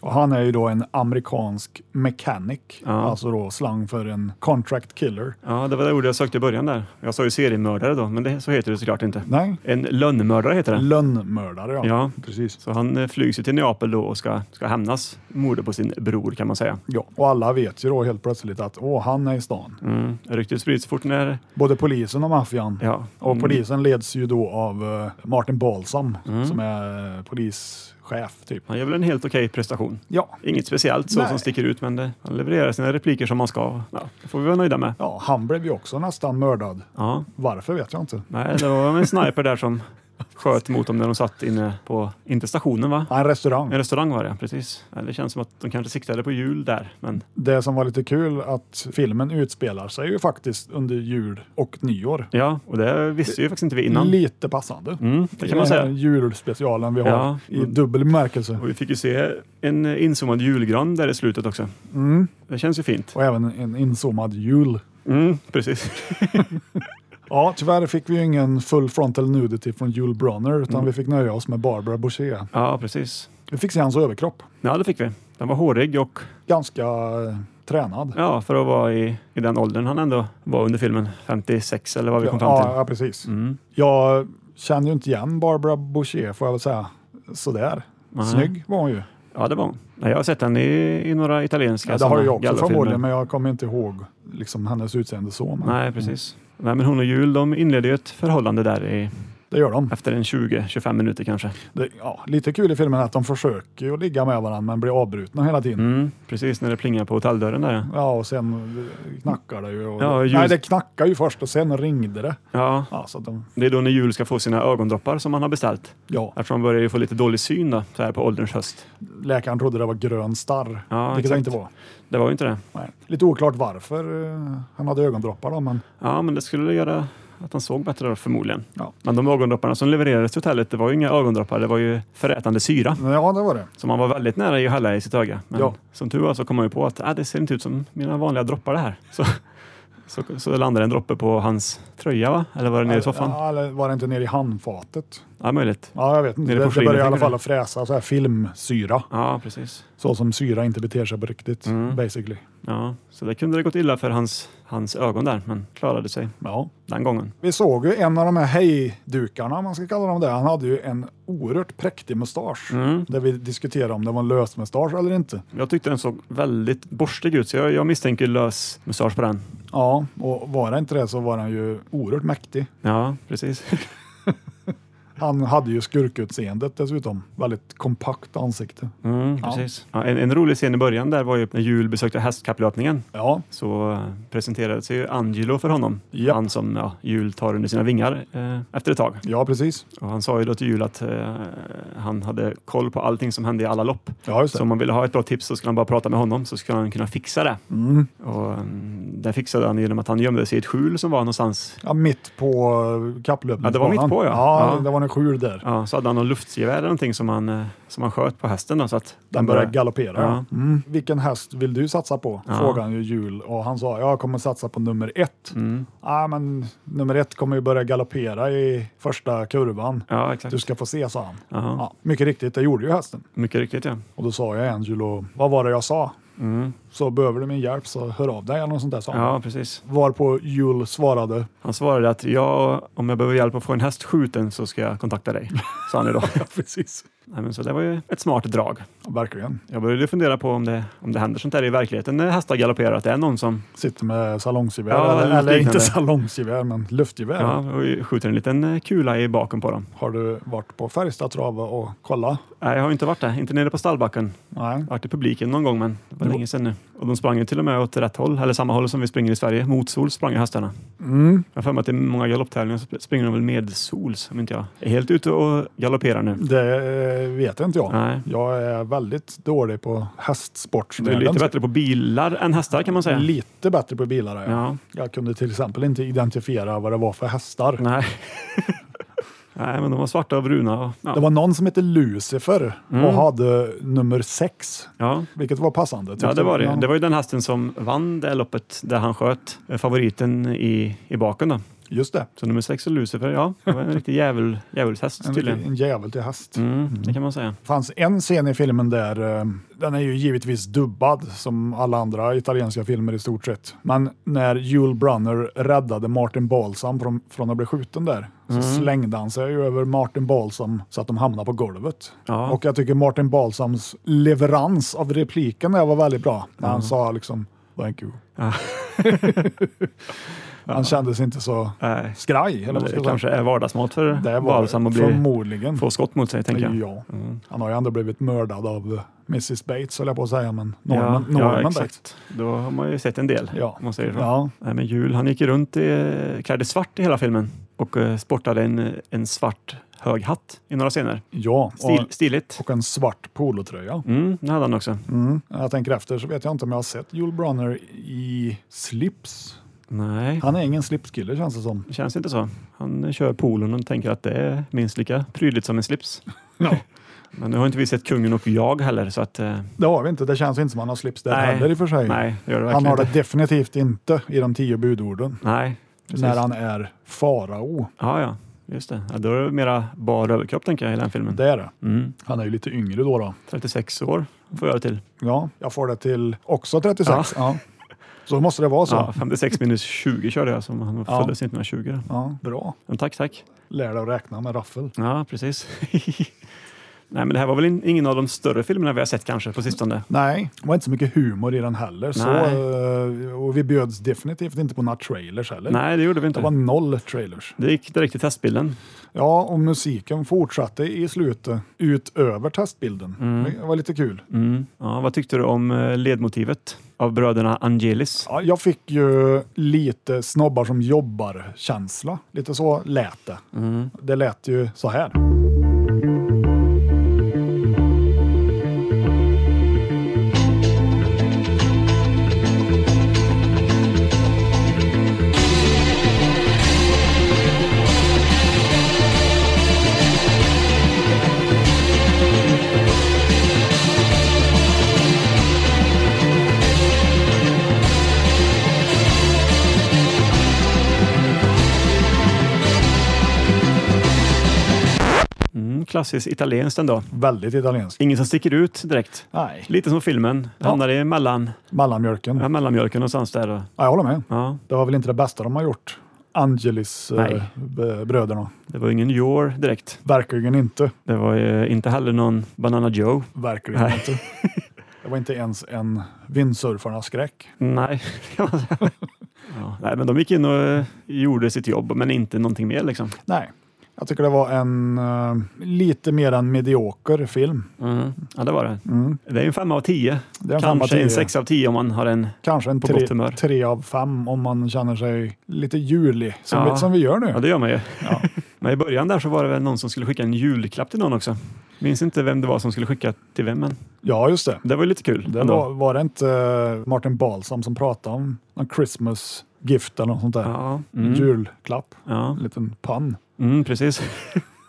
Speaker 3: Och han är ju då en amerikansk mechanic, alltså då slang för en contract killer.
Speaker 4: Ja, det var det ordet jag sökte i början där. Jag sa ju seriemördare då, men det, så heter det såklart inte.
Speaker 3: Nej,
Speaker 4: En lönnmördare heter det.
Speaker 3: lönnmördare ja.
Speaker 4: Ja.
Speaker 3: Precis.
Speaker 4: Så han eh, flygs ju till Neapel då och ska, ska hämnas mordet på sin bror kan man säga.
Speaker 3: Ja, och alla vet ju då helt plötsligt att åh, han är i stan.
Speaker 4: Mm. Ryktet sprids fort när...
Speaker 3: Både polisen och maffian.
Speaker 4: Ja.
Speaker 3: Och polisen leds ju då av eh, Martin Balsam
Speaker 4: Mm.
Speaker 3: som är eh, polischef typ.
Speaker 4: Han gör väl en helt okej prestation.
Speaker 3: Ja.
Speaker 4: Inget speciellt så
Speaker 3: Nej.
Speaker 4: som sticker ut, men det, han levererar sina repliker som han ska. Ja, det får vi vara nöjda med.
Speaker 3: ja, han blev ju också nästan mördad.
Speaker 4: Ja.
Speaker 3: Varför vet jag inte.
Speaker 4: Nej, det var en sniper där som sköt mot dem när de satt inne på, inte stationen va?
Speaker 3: Ja, En restaurang.
Speaker 4: En restaurang var det, precis. Ja, Det känns som att de kanske siktade på jul där, men
Speaker 3: Det som var lite kul att filmen utspelar sig ju faktiskt under jul och nyår.
Speaker 4: ja, och det visste ju faktiskt inte vi innan.
Speaker 3: Lite passande.
Speaker 4: Mm, det
Speaker 3: I
Speaker 4: kan man
Speaker 3: den här
Speaker 4: säga.
Speaker 3: Julspecialen vi har
Speaker 4: Ja.
Speaker 3: i dubbel bemärkelse.
Speaker 4: Och vi fick ju se en inzoomad julgran där i slutet också. Det känns ju fint.
Speaker 3: Och även en inzoomad jul.
Speaker 4: Mm, precis.
Speaker 3: Ja, tyvärr fick vi ju ingen full frontal nudity från Jule Bronner
Speaker 4: Mm.
Speaker 3: utan vi fick nöja oss med Barbara Boucher.
Speaker 4: Ja, precis.
Speaker 3: Vi fick se hans överkropp.
Speaker 4: Ja, det fick vi. Den var hårig och
Speaker 3: Ganska eh, tränad.
Speaker 4: ja, för att vara i, i den åldern han ändå var under filmen, 56 eller vad vi kom fram
Speaker 3: Ja,
Speaker 4: till. Mm.
Speaker 3: ja, precis. Jag känner ju inte igen Barbara Boucher får jag väl säga. Sådär. Snygg var hon ju.
Speaker 4: Ja, det var hon. Nej, Jag har sett henne i, i några italienska
Speaker 3: Ja, det har
Speaker 4: såna
Speaker 3: jag också
Speaker 4: gallafilmer.
Speaker 3: förmodligen, men jag kommer inte ihåg liksom, hennes utseende så. Men
Speaker 4: Nej, precis. Nej, men hon och Jul, de inleder ju ett förhållande där i,
Speaker 3: Det gör de.
Speaker 4: efter en 20-25 minuter kanske.
Speaker 3: Det, ja, lite kul i filmen att de försöker ju att ligga med varandra men blir avbrutna hela tiden.
Speaker 4: Mm, precis, när det plingar på hotelldörren där. ja.
Speaker 3: Ja, och sen knackar det ju. Och,
Speaker 4: Ja, just-
Speaker 3: Nej, det knackade ju först och sen ringde det.
Speaker 4: Ja,
Speaker 3: Ja, så att de,
Speaker 4: det är då när Jul ska få sina ögondroppar som han har beställt.
Speaker 3: ja,
Speaker 4: Eftersom han börjar ju få lite dålig syn då, så här på ålderns höst.
Speaker 3: läkaren trodde det var grön starr,
Speaker 4: Ja,
Speaker 3: vilket det
Speaker 4: exakt.
Speaker 3: inte var.
Speaker 4: Det var ju inte det.
Speaker 3: Nej. Lite oklart varför eh, han hade ögondroppar då, men
Speaker 4: Ja, men det skulle göra att han såg bättre då, förmodligen.
Speaker 3: Ja.
Speaker 4: Men de ögondropparna som levererades till hotellet, det var ju inga ögondroppar, det var ju förätande syra.
Speaker 3: ja, det var det.
Speaker 4: Så man var väldigt nära att hälla i sitt öga. Men
Speaker 3: Ja.
Speaker 4: som tur var så kom man ju på att ah, det ser inte ut som mina vanliga droppar det här. Så, så, så landade en droppe på hans tröja, va? eller var det nere i soffan? Ja,
Speaker 3: Ja, eller var det inte nere i handfatet?
Speaker 4: möjligt.
Speaker 3: Ja, jag vet inte.
Speaker 4: Nere i
Speaker 3: Det, det
Speaker 4: porslinet,
Speaker 3: började i alla
Speaker 4: tänker
Speaker 3: fall
Speaker 4: du?
Speaker 3: att fräsa så här filmsyra,
Speaker 4: Ja, precis.
Speaker 3: så som syra inte beter sig på riktigt,
Speaker 4: Mm.
Speaker 3: basically.
Speaker 4: Ja, så det kunde det gått illa för hans, hans ögon där, men klarade sig
Speaker 3: Ja.
Speaker 4: den gången.
Speaker 3: Vi såg ju en av de här hejdukarna, om man ska kalla dem det. Han hade ju en oerhört präktig mustasch.
Speaker 4: Mm.
Speaker 3: Där vi diskuterade om det var en lös mustasch eller inte.
Speaker 4: Jag tyckte den såg väldigt borstig ut, så jag, jag misstänker lös mustasch på den.
Speaker 3: Ja, och var det inte det så var han ju oerhört mäktig.
Speaker 4: Ja, precis.
Speaker 3: Han hade ju skurkutseendet dessutom. Väldigt kompakt ansikte.
Speaker 4: Mm, precis. Ja, en, en rolig scen i början där var ju när Jul besökte hästkapplöpningen.
Speaker 3: Ja,
Speaker 4: så eh, presenterade sig ju Angelo för honom.
Speaker 3: Japp.
Speaker 4: Han som ja, Jul tar under sina vingar eh, efter ett tag.
Speaker 3: ja precis.
Speaker 4: Och han sa ju då till Jul att eh, han hade koll på allting som hände i alla lopp.
Speaker 3: Ja, just
Speaker 4: Så
Speaker 3: det.
Speaker 4: om man ville ha ett bra tips så skulle han bara prata med honom så skulle han kunna fixa det. Och mm, det fixade han genom att han gömde sig i ett skjul som var någonstans.
Speaker 3: Ja, mitt på eh, kapplöpningsbanan.
Speaker 4: Ja, det var mitt på, ja.
Speaker 3: Ja,
Speaker 4: Ja.
Speaker 3: det var en skjul där.
Speaker 4: Ja, så hade han någon luftgevär eller någonting som han, eh, som han sköt på hästen. Då, så att
Speaker 3: Den började galoppera.
Speaker 4: Ja.
Speaker 3: Mm. Vilken häst vill du satsa på? Frågade han ju Jul och han sa jag kommer satsa på nummer ett.
Speaker 4: Mm.
Speaker 3: Ah, men nummer ett kommer ju börja galoppera i första kurvan.
Speaker 4: Ja, exakt.
Speaker 3: Du ska få se, sa han.
Speaker 4: Jaha.
Speaker 3: Ja, mycket riktigt, det gjorde ju hästen.
Speaker 4: Mycket riktigt ja.
Speaker 3: Och då sa jag Angelo, vad var det jag sa? Så behöver du min hjälp så hör av dig eller något sånt där, sa han.
Speaker 4: Mm. Ja, precis.
Speaker 3: Varpå Jul svarade,
Speaker 4: Han svarade att ja, om jag behöver hjälp att få en häst skjuten så ska jag kontakta dig. Sa han ju då.
Speaker 3: precis,
Speaker 4: Nej, men så det var ju ett smart drag.
Speaker 3: verkligen,
Speaker 4: Jag började fundera på om det, om det händer sånt där i verkligheten när hästar galopperar, att det är någon som
Speaker 3: sitter med salongsgevär,
Speaker 4: Ja,
Speaker 3: eller,
Speaker 4: något
Speaker 3: eller inte
Speaker 4: liknande.
Speaker 3: salongsgevär men luftgevär.
Speaker 4: ja, och skjuter en liten eh, kula i baken på dem.
Speaker 3: Har du varit på Färjestad Trava och kollat?
Speaker 4: Nej, jag har inte varit där, inte nere på stallbacken.
Speaker 3: Nej.
Speaker 4: Jag har varit i publiken någon gång, men det var länge sedan nu. Och de sprang ju till och med åt rätt håll, eller samma håll som vi springer i Sverige. Mot sol sprang ju hästarna. Jag har för mig att i många galopptävlingar så sp- springer de väl med sols, om inte jag är helt ute och galopperar nu.
Speaker 3: Det eh, vet inte jag.
Speaker 4: Nej.
Speaker 3: Jag är väldigt dålig på
Speaker 4: Du är
Speaker 3: hästsportsvärlden.
Speaker 4: lite bättre på bilar än hästar kan man
Speaker 3: Mm.
Speaker 4: säga.
Speaker 3: Lite bättre på bilar är jag.
Speaker 4: Ja.
Speaker 3: Jag kunde till exempel inte identifiera vad det var för hästar.
Speaker 4: Nej. Nej, men de var svarta och bruna. Och,
Speaker 3: Det
Speaker 4: ja.
Speaker 3: var någon som hette Lucifer
Speaker 4: Mm.
Speaker 3: och hade nummer sex,
Speaker 4: Ja.
Speaker 3: vilket var passande. tyckte
Speaker 4: Ja, det var det.
Speaker 3: jag.
Speaker 4: Det var ju den hästen som vann det loppet där han sköt eh, favoriten i, i baken. Då.
Speaker 3: Just det.
Speaker 4: Så nummer sex är Lucifer. Ja, det var en riktig djävul, djävulshäst
Speaker 3: En,
Speaker 4: tydligen.
Speaker 3: en jävel till häst.
Speaker 4: Mm, det kan man säga.
Speaker 3: Det fanns en scen i filmen där, eh, den är ju givetvis dubbad som alla andra italienska filmer i stort sett. Men när Yul Brunner räddade Martin Balsam från, från att bli skjuten där så
Speaker 4: Mm.
Speaker 3: slängde han sig ju över Martin Balsam så att de hamnade på golvet.
Speaker 4: Ja.
Speaker 3: Och jag tycker Martin Balsams leverans av repliken där var väldigt bra. När han sa liksom “Thank you”. han kändes inte så
Speaker 4: Nej.
Speaker 3: skraj. Eller vad
Speaker 4: Eh, Det
Speaker 3: ska jag
Speaker 4: kanske
Speaker 3: säga.
Speaker 4: är vardagsmat för
Speaker 3: det var
Speaker 4: Balsam att bli,
Speaker 3: förmodligen.
Speaker 4: få skott mot sig, tänker jag.
Speaker 3: Ja. Han har ju ändå blivit mördad av Mrs Bates, höll jag på att säga, men
Speaker 4: Ja,
Speaker 3: Norman, Norman
Speaker 4: ja,
Speaker 3: Bates.
Speaker 4: exakt. Då har man ju sett en del,
Speaker 3: Ja.
Speaker 4: om man säger så.
Speaker 3: Ja.
Speaker 4: Nej, men Jul, han gick ju runt i, eh, klädd i svart i hela filmen och eh, sportade en, en svart hög hatt i några scener.
Speaker 3: Ja,
Speaker 4: Stil,
Speaker 3: och,
Speaker 4: stiligt.
Speaker 3: och en svart polotröja.
Speaker 4: Mm, det hade han också.
Speaker 3: Jag tänker efter så vet jag inte om jag har sett Joel Brunner i slips.
Speaker 4: Nej.
Speaker 3: Han är ingen slipskille känns det som.
Speaker 4: Det känns inte så. Han kör polon och tänker att det är minst lika prydligt som en slips. Men nu har inte vi sett kungen och jag heller, så att... eh,
Speaker 3: Det har vi inte. Det känns inte som han har slips där heller i och för sig.
Speaker 4: Nej, det gör det
Speaker 3: han
Speaker 4: verkligen
Speaker 3: har det
Speaker 4: inte.
Speaker 3: definitivt inte i de tio budorden
Speaker 4: Nej, precis.
Speaker 3: när han är farao.
Speaker 4: Ja, ja. Just det. Ja, då är det mera bar överkropp, tänker jag, i den filmen.
Speaker 3: Det är det.
Speaker 4: Mm.
Speaker 3: Han är ju lite yngre då. då.
Speaker 4: 36 år får jag det till.
Speaker 3: Ja, jag får det till också 36. Ja. Så måste det vara så.
Speaker 4: Ja,
Speaker 3: Ja.
Speaker 4: 56 minus 20 körde jag, som han föddes 1920. då.
Speaker 3: bra.
Speaker 4: Men tack, tack.
Speaker 3: Lär dig att räkna med raffel.
Speaker 4: Ja, precis. Nej, men det här var väl in, ingen av de större filmerna vi har sett kanske på sistone.
Speaker 3: Nej, det var inte så mycket humor i den heller. Så,
Speaker 4: Nej.
Speaker 3: eh, och vi bjöds definitivt inte på några trailers heller.
Speaker 4: Nej, det gjorde vi
Speaker 3: Det var
Speaker 4: inte.
Speaker 3: noll trailers.
Speaker 4: Det gick direkt till testbilden.
Speaker 3: Ja, och musiken fortsatte i slutet utöver testbilden.
Speaker 4: Mm.
Speaker 3: Det var lite kul.
Speaker 4: Ja, vad tyckte du om eh, ledmotivet av bröderna Angelis?
Speaker 3: Ja, jag fick ju lite snobbar som jobbar-känsla. Lite så lät det.
Speaker 4: Mm.
Speaker 3: Det lät ju så här.
Speaker 4: Mm, klassiskt italienskt ändå.
Speaker 3: Väldigt italienskt.
Speaker 4: Ingen som sticker ut direkt.
Speaker 3: Nej,
Speaker 4: Lite som filmen. Hamnar i mellan,
Speaker 3: mellanmjölken.
Speaker 4: ja, mellanmjölken någonstans där. och-
Speaker 3: Ja, jag håller med.
Speaker 4: Ja,
Speaker 3: Det var väl inte det bästa de har gjort. Angelis eh,
Speaker 4: Nej.
Speaker 3: b- bröderna.
Speaker 4: det var ingen Your direkt.
Speaker 3: Verkligen inte.
Speaker 4: Det var eh, inte heller någon Banana Joe.
Speaker 3: Verkligen
Speaker 4: Nej.
Speaker 3: inte. Det var inte ens en vindsurfarnas skräck.
Speaker 4: Nej. ja, nej, men de gick in och eh, gjorde sitt jobb, men inte någonting mer liksom.
Speaker 3: Nej, jag tycker det var en eh, lite mer än medioker film.
Speaker 4: Ja, det var det. Det är en femma av tio.
Speaker 3: Mm. Det är en
Speaker 4: Kanske
Speaker 3: femma av tio.
Speaker 4: en sexa av tio om man har en.
Speaker 3: Kanske en
Speaker 4: På
Speaker 3: tre,
Speaker 4: gott humör.
Speaker 3: tre av fem om man känner sig lite julig, som,
Speaker 4: Ja.
Speaker 3: vi, som vi gör nu.
Speaker 4: Ja, det gör man ju.
Speaker 3: Ja.
Speaker 4: Men i början där så var det väl någon som skulle skicka en julklapp till någon också. Minns inte vem det var som skulle skicka till vem, men
Speaker 3: Ja, just det.
Speaker 4: det var ju lite kul.
Speaker 3: det
Speaker 4: ändå.
Speaker 3: var, var det inte eh, Martin Balsam som pratade om någon Christmas gift eller något sånt där?
Speaker 4: Ja,
Speaker 3: En
Speaker 4: mm,
Speaker 3: Julklapp,
Speaker 4: ja.
Speaker 3: en liten pann.
Speaker 4: Mm, precis.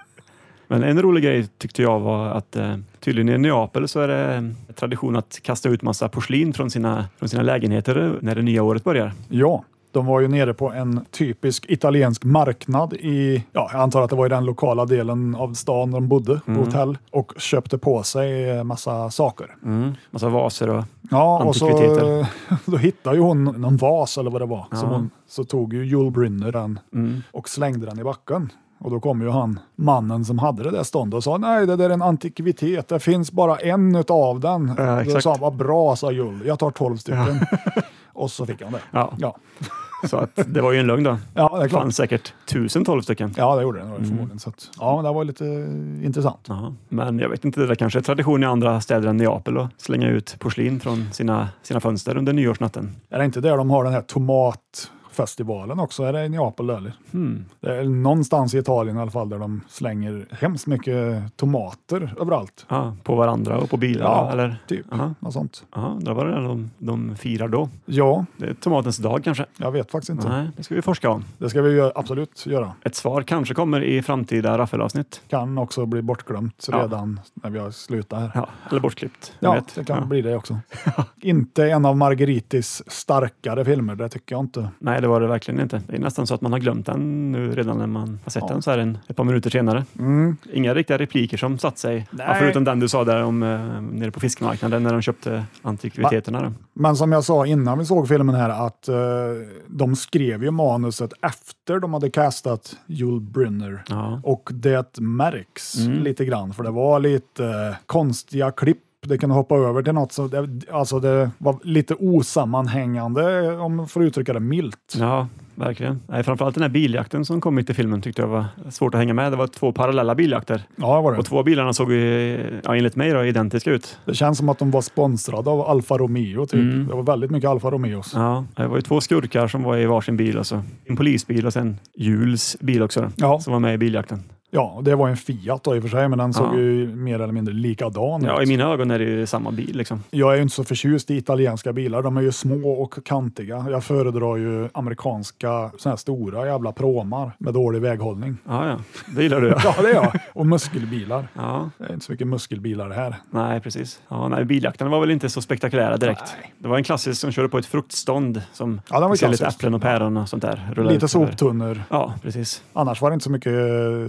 Speaker 4: Men en rolig grej tyckte jag var att eh, tydligen i Neapel så är det eh, tradition att kasta ut massa porslin från sina, från sina lägenheter när det nya året börjar.
Speaker 3: Ja, de var ju nere på en typisk italiensk marknad i, ja, jag antar att det var i den lokala delen av stan de bodde
Speaker 4: Mm.
Speaker 3: på hotell och köpte på sig eh, massa saker.
Speaker 4: Massa vaser och...
Speaker 3: Ja, och så,
Speaker 4: Mm. Antikviteter.
Speaker 3: då hittade ju hon någon vas eller vad det var. Som hon, så tog ju Joel Brynner den
Speaker 4: Mm.
Speaker 3: och slängde den i backen. Och då kom ju han, mannen som hade det där ståndet och sa nej, det där är en antikvitet, det finns bara en utav den.
Speaker 4: Ja,
Speaker 3: då
Speaker 4: exakt.
Speaker 3: sa han, vad bra, sa Joel, jag tar tolv stycken. och så fick han det.
Speaker 4: Ja,
Speaker 3: Ja,
Speaker 4: så att det var ju en lögn då.
Speaker 3: ja det är
Speaker 4: Det
Speaker 3: klart.
Speaker 4: fanns säkert tusen tolv stycken.
Speaker 3: Ja, det gjorde den
Speaker 4: Mm.
Speaker 3: förmodligen. Så att, ja, men det var lite eh, intressant.
Speaker 4: Ja, men jag vet inte, det där kanske är tradition i andra städer än Neapel att slänga ut porslin från sina, sina fönster under nyårsnatten.
Speaker 3: Är det inte där de har den här tomatfestivalen också? Är det i Neapel eller?
Speaker 4: Hmm.
Speaker 3: Det är någonstans i Italien i alla fall där de slänger hemskt mycket tomater överallt.
Speaker 4: Ja, på varandra och på bilar.
Speaker 3: Ja,
Speaker 4: eller?
Speaker 3: Typ,
Speaker 4: Ja,
Speaker 3: något sånt.
Speaker 4: ja, det var det där de, de firar då.
Speaker 3: Ja,
Speaker 4: Det är tomatens dag kanske.
Speaker 3: jag vet faktiskt inte.
Speaker 4: Nej, det ska vi forska om.
Speaker 3: Det ska vi ju absolut göra.
Speaker 4: Ett svar kanske kommer i framtida raffelavsnitt.
Speaker 3: Kan också bli bortglömt
Speaker 4: Ja.
Speaker 3: redan när vi har slutat här.
Speaker 4: Ja, eller bortklippt. Jag
Speaker 3: Ja,
Speaker 4: vet.
Speaker 3: det kan
Speaker 4: Ja.
Speaker 3: bli det också. inte en av Margaritis starkare filmer, det tycker jag inte.
Speaker 4: Nej, det var det verkligen inte. Det är nästan så att man har glömt den nu redan när man har sett
Speaker 3: Ja. Mm.
Speaker 4: den så här en, ett par minuter senare. Inga riktiga repliker som satt sig. Ja,
Speaker 3: Nej.
Speaker 4: förutom den du sa där om eh, nere på fiskmarknaden när de köpte antikviteterna. då.
Speaker 3: Men som jag sa innan vi såg filmen här att eh, de skrev ju manuset efter de hade castat Joel Brynner.
Speaker 4: Ja.
Speaker 3: Och det märks
Speaker 4: Mm.
Speaker 3: lite grann, för det var lite eh, konstiga klipp. Det kunde hoppa över till något, så det, alltså det var lite osammanhängande om man får uttrycka det milt.
Speaker 4: ja, verkligen. Nej, framförallt den här biljakten som kom mitt i filmen tyckte jag var svårt att hänga med. Det var två parallella biljakter
Speaker 3: Ja, det var det.
Speaker 4: och två bilarna såg ju, ja, enligt mig då, identiska ut.
Speaker 3: Det känns som att de var sponsrade av Alfa Romeo, typ.
Speaker 4: Mm.
Speaker 3: Det var väldigt mycket Alfa Romeos.
Speaker 4: Ja, det var ju två skurkar som var i varsin bil. Alltså. En polisbil och sen Jules bil också.
Speaker 3: Ja.
Speaker 4: Som var med i biljakten.
Speaker 3: Ja, och det var en Fiat då i och för sig, men den såg
Speaker 4: Ja.
Speaker 3: ju mer eller mindre likadan
Speaker 4: Ja, I
Speaker 3: ut.
Speaker 4: mina ögon är det ju samma bil. Liksom.
Speaker 3: Jag är ju inte så förtjust i italienska bilar. De är ju små och kantiga. Jag föredrar ju amerikanska såna här stora jävla pråmar med dålig väghållning.
Speaker 4: Ja, ja. Det gillar du ja.
Speaker 3: Ja, det är jag. Och muskelbilar.
Speaker 4: ja.
Speaker 3: Det är inte så mycket muskelbilar det här.
Speaker 4: Nej, precis. Ja, nej, biljakterna var väl inte så spektakulära direkt. Det var en klassisk som körde på ett fruktstånd som
Speaker 3: Ja, den var
Speaker 4: vi ser lite
Speaker 3: klassisk.
Speaker 4: äpplen och päron och sånt där. rulla
Speaker 3: Lite
Speaker 4: ut över.
Speaker 3: soptunnor.
Speaker 4: Ja, precis.
Speaker 3: Annars var det inte så mycket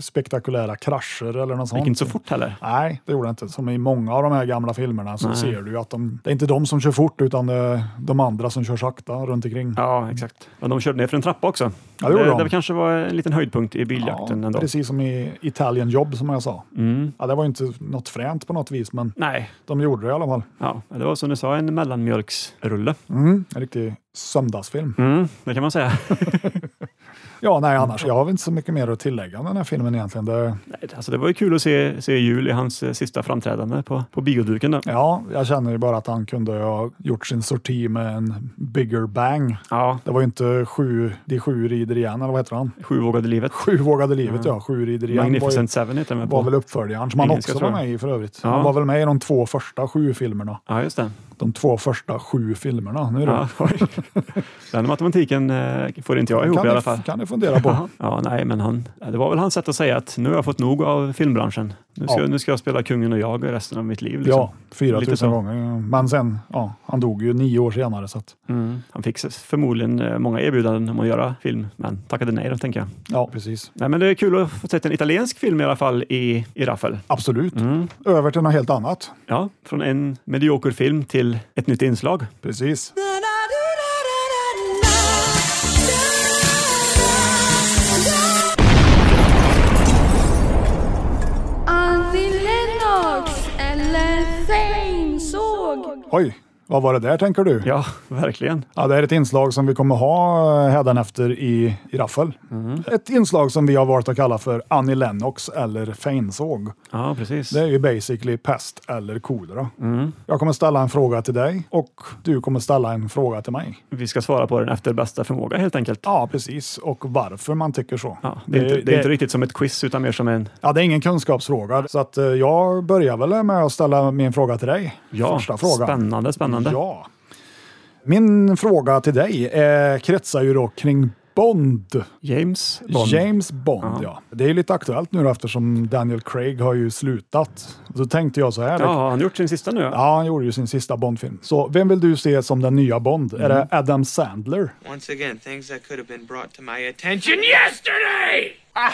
Speaker 3: spektakulära krascher eller något
Speaker 4: Det
Speaker 3: sånt.
Speaker 4: gick inte så fort heller.
Speaker 3: Nej, det gjorde det inte. Som i många av de här gamla filmerna så
Speaker 4: Nej.
Speaker 3: ser du ju att de, det är inte de som kör fort utan det är de andra som kör sakta runt omkring.
Speaker 4: Ja, exakt. Men de körde ner för en trappa också.
Speaker 3: Ja, det gjorde de.
Speaker 4: det kanske var en liten höjdpunkt i biljakten ändå. Mm.
Speaker 3: precis som i Italian Job som jag sa. Ja, det var ju inte något fränt på något vis, men
Speaker 4: Nej,
Speaker 3: de gjorde det i alla fall.
Speaker 4: ja, det var som du sa, en mellanmjölksrulle.
Speaker 3: Mm, en riktig söndagsfilm.
Speaker 4: Mm, det kan man säga.
Speaker 3: Ja, nej, annars. Jag har väl inte så mycket mer att tillägga om den här filmen egentligen. Det,
Speaker 4: Nej, alltså, det var ju kul att se, se Jul i hans eh, sista framträdande på, på bioduken. Då.
Speaker 3: ja, jag känner ju bara att han kunde ju ha gjort sin sorti med en bigger bang.
Speaker 4: Ja,
Speaker 3: Det var ju inte sju, De sju rider igen, eller vad heter han?
Speaker 4: Sju vågade livet.
Speaker 3: Sju vågade livet, ja. Sju rider igen. var ju-
Speaker 4: Magnificent Seven heter den väl
Speaker 3: var
Speaker 4: på?
Speaker 3: väl uppföljaren som han
Speaker 4: Engelska,
Speaker 3: också var
Speaker 4: tror jag.
Speaker 3: med i för övrigt.
Speaker 4: Ja.
Speaker 3: Han var väl med i de två första sju filmerna.
Speaker 4: Ja, just det.
Speaker 3: De två första sju filmerna. Nu då.
Speaker 4: Ja, oj. Den matematiken eh, får inte jag ihop
Speaker 3: kan,
Speaker 4: i
Speaker 3: ni-
Speaker 4: alla fall.
Speaker 3: kan ni fundera på.
Speaker 4: Ja, nej, men han, det var väl hans sätt att säga att nu har jag fått nog av filmbranschen. Nu ska,
Speaker 3: Ja.
Speaker 4: nu ska jag spela kungen och jag resten av mitt liv. Liksom.
Speaker 3: Ja,
Speaker 4: Lite
Speaker 3: 4000
Speaker 4: så.
Speaker 3: gånger. Men sen, ja, han dog ju nio år senare. Så att,
Speaker 4: Mm. Han fick förmodligen eh, många erbjudanden om att göra film, men tackade nej då, tänker jag.
Speaker 3: ja, precis.
Speaker 4: Nej, men det är kul att få sett en italiensk film i alla fall i, i Raffel.
Speaker 3: Absolut.
Speaker 4: Mm.
Speaker 3: Över till något helt annat.
Speaker 4: Ja, från en medioker film till ett nytt inslag.
Speaker 3: Precis.
Speaker 7: Annie Lennox eller Fame såg
Speaker 3: Oj, vad var det där tänker du?
Speaker 4: Ja, verkligen.
Speaker 3: Ja, det är ett inslag som vi kommer ha hädanefter i, i Raffel.
Speaker 4: Mm.
Speaker 3: Ett inslag som vi har valt att kalla för Annie Lennox eller Feinsåg.
Speaker 4: Ja, precis.
Speaker 3: Det är ju basically pest eller kolera.
Speaker 4: Mm.
Speaker 3: Jag kommer ställa en fråga till dig och du kommer ställa en fråga till mig.
Speaker 4: Vi ska svara på den efter bästa förmåga helt enkelt.
Speaker 3: Ja, precis. Och varför man tycker så.
Speaker 4: Ja, det, är inte, det är inte riktigt som ett quiz utan mer som en...
Speaker 3: ja, det är ingen kunskapsfråga. Så att eh, jag börjar väl med att ställa min fråga till dig.
Speaker 4: Ja,
Speaker 3: Första frågan.
Speaker 4: Spännande, spännande.
Speaker 3: Ja. Min fråga till dig eh, kretsar ju då kring Bond.
Speaker 4: James Bond.
Speaker 3: James Bond, ja. Det är ju lite aktuellt nu då, eftersom Daniel Craig har ju slutat. Då tänkte jag så här.
Speaker 4: Ja, har han gjort sin sista nu?
Speaker 3: Ja, han gjorde ju sin sista Bondfilm. Så vem vill du se som den nya Bond? Är
Speaker 4: Mm.
Speaker 3: det Adam Sandler?
Speaker 8: Once again, things that could have been brought to my attention yesterday!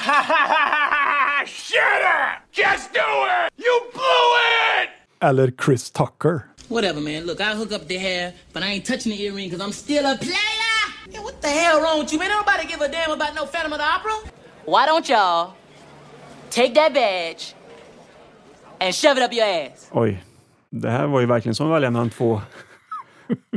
Speaker 8: Shut up! Just do it! You blew it!
Speaker 3: Eller Chris Tucker?
Speaker 9: Whatever, man. Look, I'll hook up the hair, but I ain't touching the earring because I'm still a player. Yeah, what the hell wrong with you, man? Don't Nobody give a damn about no Phantom of the Opera. Why don't y'all take that badge and shove it up your ass?
Speaker 4: Oj, det här var ju verkligen som att välja mellan två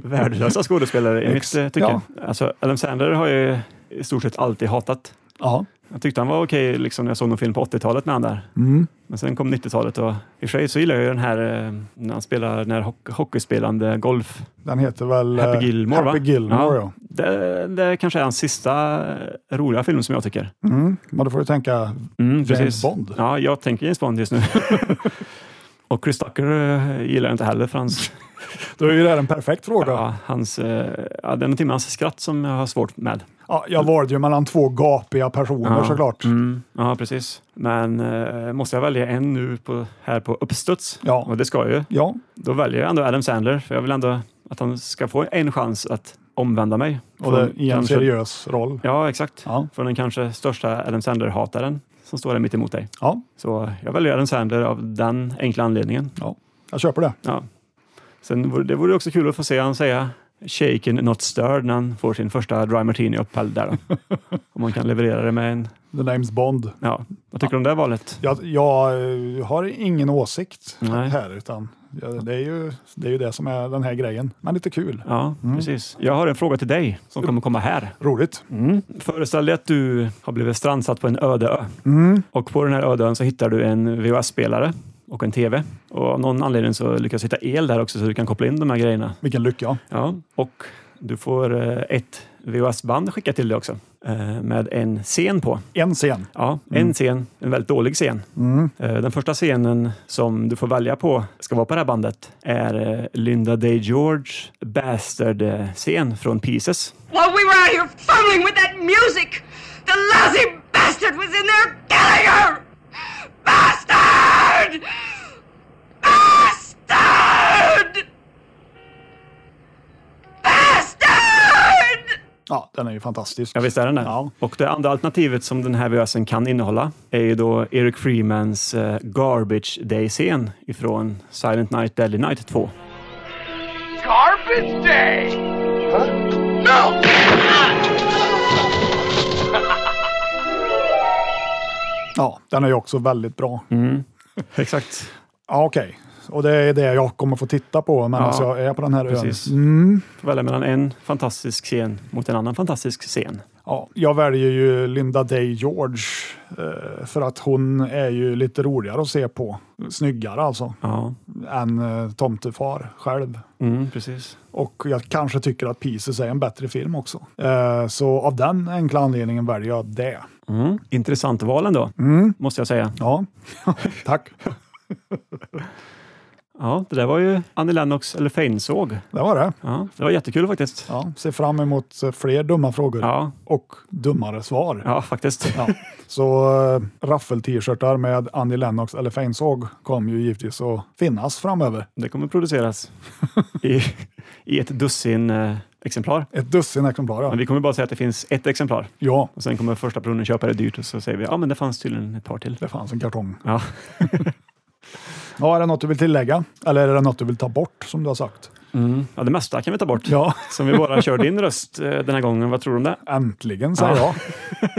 Speaker 4: värdelösa skådespelare i mitt
Speaker 3: Ex-
Speaker 4: eh, tycke.
Speaker 3: ja.
Speaker 4: Alltså, Adam Sandler har jag ju i stort sett alltid hatat.
Speaker 3: Ja.
Speaker 4: Jag tyckte han var okej liksom, när jag såg någon film på 80-talet med han där.
Speaker 3: Mm.
Speaker 4: Men sen kom 90-talet och i och för sig så gillar jag ju den här eh, när han spelar den här hock- hockeyspelande golf.
Speaker 3: Den heter väl... eh,
Speaker 4: Happy Gilmore,
Speaker 3: Happy
Speaker 4: va?
Speaker 3: Gilmore, ja.
Speaker 4: Det, det kanske är hans sista eh, roliga film som jag tycker.
Speaker 3: Men då får du tänka
Speaker 4: Mm,
Speaker 3: James Bond.
Speaker 4: Ja, jag tänker James Bond just nu. och Chris Tucker eh, gillar jag inte heller för hans,
Speaker 3: Då är ju det här en perfekt fråga. Ja.
Speaker 4: ja, hans, eh, ja, det är någonting med hans skratt som jag har svårt med.
Speaker 3: jag valde ju mellan två gapiga personer
Speaker 4: Ja.
Speaker 3: såklart.
Speaker 4: Mm, ja, precis. Men eh, måste jag välja en nu på, här på uppstuds?
Speaker 3: Ja.
Speaker 4: Och det ska jag ju.
Speaker 3: Ja,
Speaker 4: Då väljer jag ändå Adam Sandler, för jag vill ändå att han ska få en chans att omvända mig.
Speaker 3: och det, i en
Speaker 4: kanske-
Speaker 3: seriös roll.
Speaker 4: Ja, exakt.
Speaker 3: Ja.
Speaker 4: Från den kanske största Adam Sandler-hataren som står där mitt emot dig.
Speaker 3: Ja,
Speaker 4: Så jag väljer Adam Sandler av den enkla anledningen.
Speaker 3: ja. jag köper det.
Speaker 4: Ja. Sen vore, det vore också kul att få se han säga shaken not stirred när han får sin första dry martini upphälld där. då. Om man kan leverera det med en...
Speaker 3: The name's Bond.
Speaker 4: Ja, vad tycker du om det valet?
Speaker 3: Jag, jag eh, har ingen åsikt
Speaker 4: Nej.
Speaker 3: här, utan jag- det är, ju, det är ju det som är den här grejen. Men lite kul.
Speaker 4: Ja, precis. Jag har en fråga till dig som kommer komma här.
Speaker 3: Roligt.
Speaker 4: Föreställ dig att du har blivit strandsatt på en öde ö. Och på den här öde ön så hittar du en VHS-spelare och en TV. Och av någon anledning så lyckas du hitta el där också så du kan koppla in de här grejerna.
Speaker 3: Vilken lycka.
Speaker 4: Ja, och du får eh, ett VHS-band skickat till dig också eh, med en scen på.
Speaker 3: En scen.
Speaker 4: Ja, en scen, en väldigt dålig scen. Eh, Den första scenen som du får välja på ska vara på det här bandet är eh, Linda Day George Bastard-scen från Pieces.
Speaker 10: While we were out here fumbling with that music, the lousy bastard was in there killing her! Bastard! Bastard! Bastard!
Speaker 3: Ja, den är ju fantastisk.
Speaker 4: Ja, visst är den det.
Speaker 3: Ja.
Speaker 4: Och det andra alternativet som den här VHSen kan innehålla är ju då Eric Freemans eh, Garbage Day-scen ifrån Silent Night Deadly Night 2.
Speaker 11: Garbage Day! Huh? No!
Speaker 3: Ja, den är ju också väldigt bra.
Speaker 4: Exakt.
Speaker 3: Ja, okej. Och det är det jag kommer få titta på medan
Speaker 4: Ja,
Speaker 3: jag är på den här
Speaker 4: precis.
Speaker 3: ön. Mm.
Speaker 4: Får välja mellan en fantastisk scen mot en annan fantastisk scen.
Speaker 3: Ja, jag väljer ju Linda Day George eh, för att hon är ju lite roligare att se på. Snyggare alltså.
Speaker 4: Ja.
Speaker 3: Än eh, Tomtefar själv.
Speaker 4: Mm, precis.
Speaker 3: Och jag kanske tycker att Pieces är en bättre film också. Eh, så av den enkla anledningen väljer jag det.
Speaker 4: Mm. Intressant val ändå, måste jag säga.
Speaker 3: Ja, tack.
Speaker 4: Ja, det där var ju Annie Lennox eller Feinsåg.
Speaker 3: Det var det.
Speaker 4: Ja, det var jättekul faktiskt.
Speaker 3: Ja, ser fram emot eh, fler dumma frågor
Speaker 4: Ja,
Speaker 3: och dummare svar.
Speaker 4: ja faktiskt.
Speaker 3: Ja. Så äh, raffel-t-shirtar med Annie Lennox eller Feinsåg kommer ju givetvis att finnas framöver.
Speaker 4: Det kommer produceras i, i ett dussin eh, exemplar.
Speaker 3: Ett dussin exemplar.
Speaker 4: Men
Speaker 3: Ja.
Speaker 4: vi kommer bara säga att det finns ett exemplar.
Speaker 3: ja,
Speaker 4: Och sen kommer första personen köpa det dyrt och så säger vi ja, men det fanns tydligen ett par till.
Speaker 3: det fanns en kartong.
Speaker 4: Ja.
Speaker 3: Ja, är det något du vill tillägga? Eller är det något du vill ta bort som du har sagt?
Speaker 4: ja, det mesta kan vi ta bort.
Speaker 3: Ja,
Speaker 4: Som vi bara kör din röst eh, den här gången. Vad tror du om det?
Speaker 3: äntligen säger
Speaker 4: Ja.
Speaker 3: jag.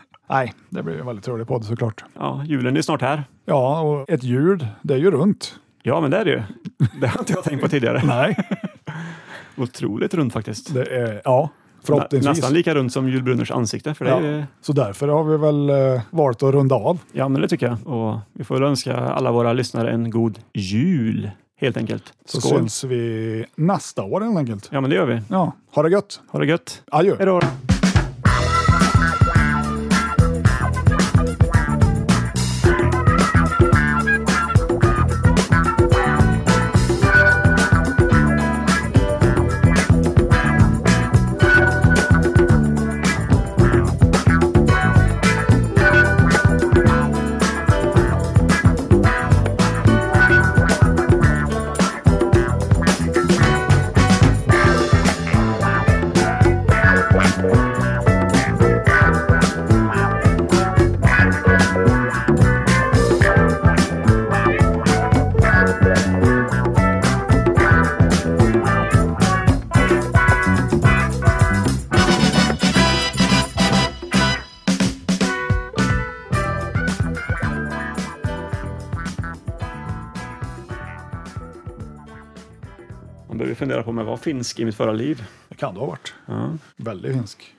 Speaker 3: Nej, det blir ju en väldigt rolig podd såklart.
Speaker 4: Ja, julen är ju snart här.
Speaker 3: Ja, och ett ljud, det är ju runt.
Speaker 4: Ja, men det är det ju. Det har inte jag tänkt på tidigare.
Speaker 3: Nej,
Speaker 4: Otroligt runt faktiskt.
Speaker 3: det är, ja,
Speaker 4: Nä-
Speaker 3: förhoppningsvis.
Speaker 4: Nästan lika runt som julbrunners ansikte. För det är ju,
Speaker 3: Ja, så därför har vi väl eh, valt att runda av.
Speaker 4: ja, men det tycker jag. Och vi får väl önska alla våra lyssnare en god jul, helt enkelt.
Speaker 3: Så
Speaker 4: Skål!
Speaker 3: syns vi nästa år helt enkelt.
Speaker 4: Ja, men det gör vi.
Speaker 3: Ja, ha det gött.
Speaker 4: Ha det gött!
Speaker 3: Adjö.
Speaker 4: Hej då! Man behöver fundera på om jag var finsk i mitt förra liv.
Speaker 3: Det kan du ha varit.
Speaker 4: Ja.
Speaker 3: Väldigt finsk.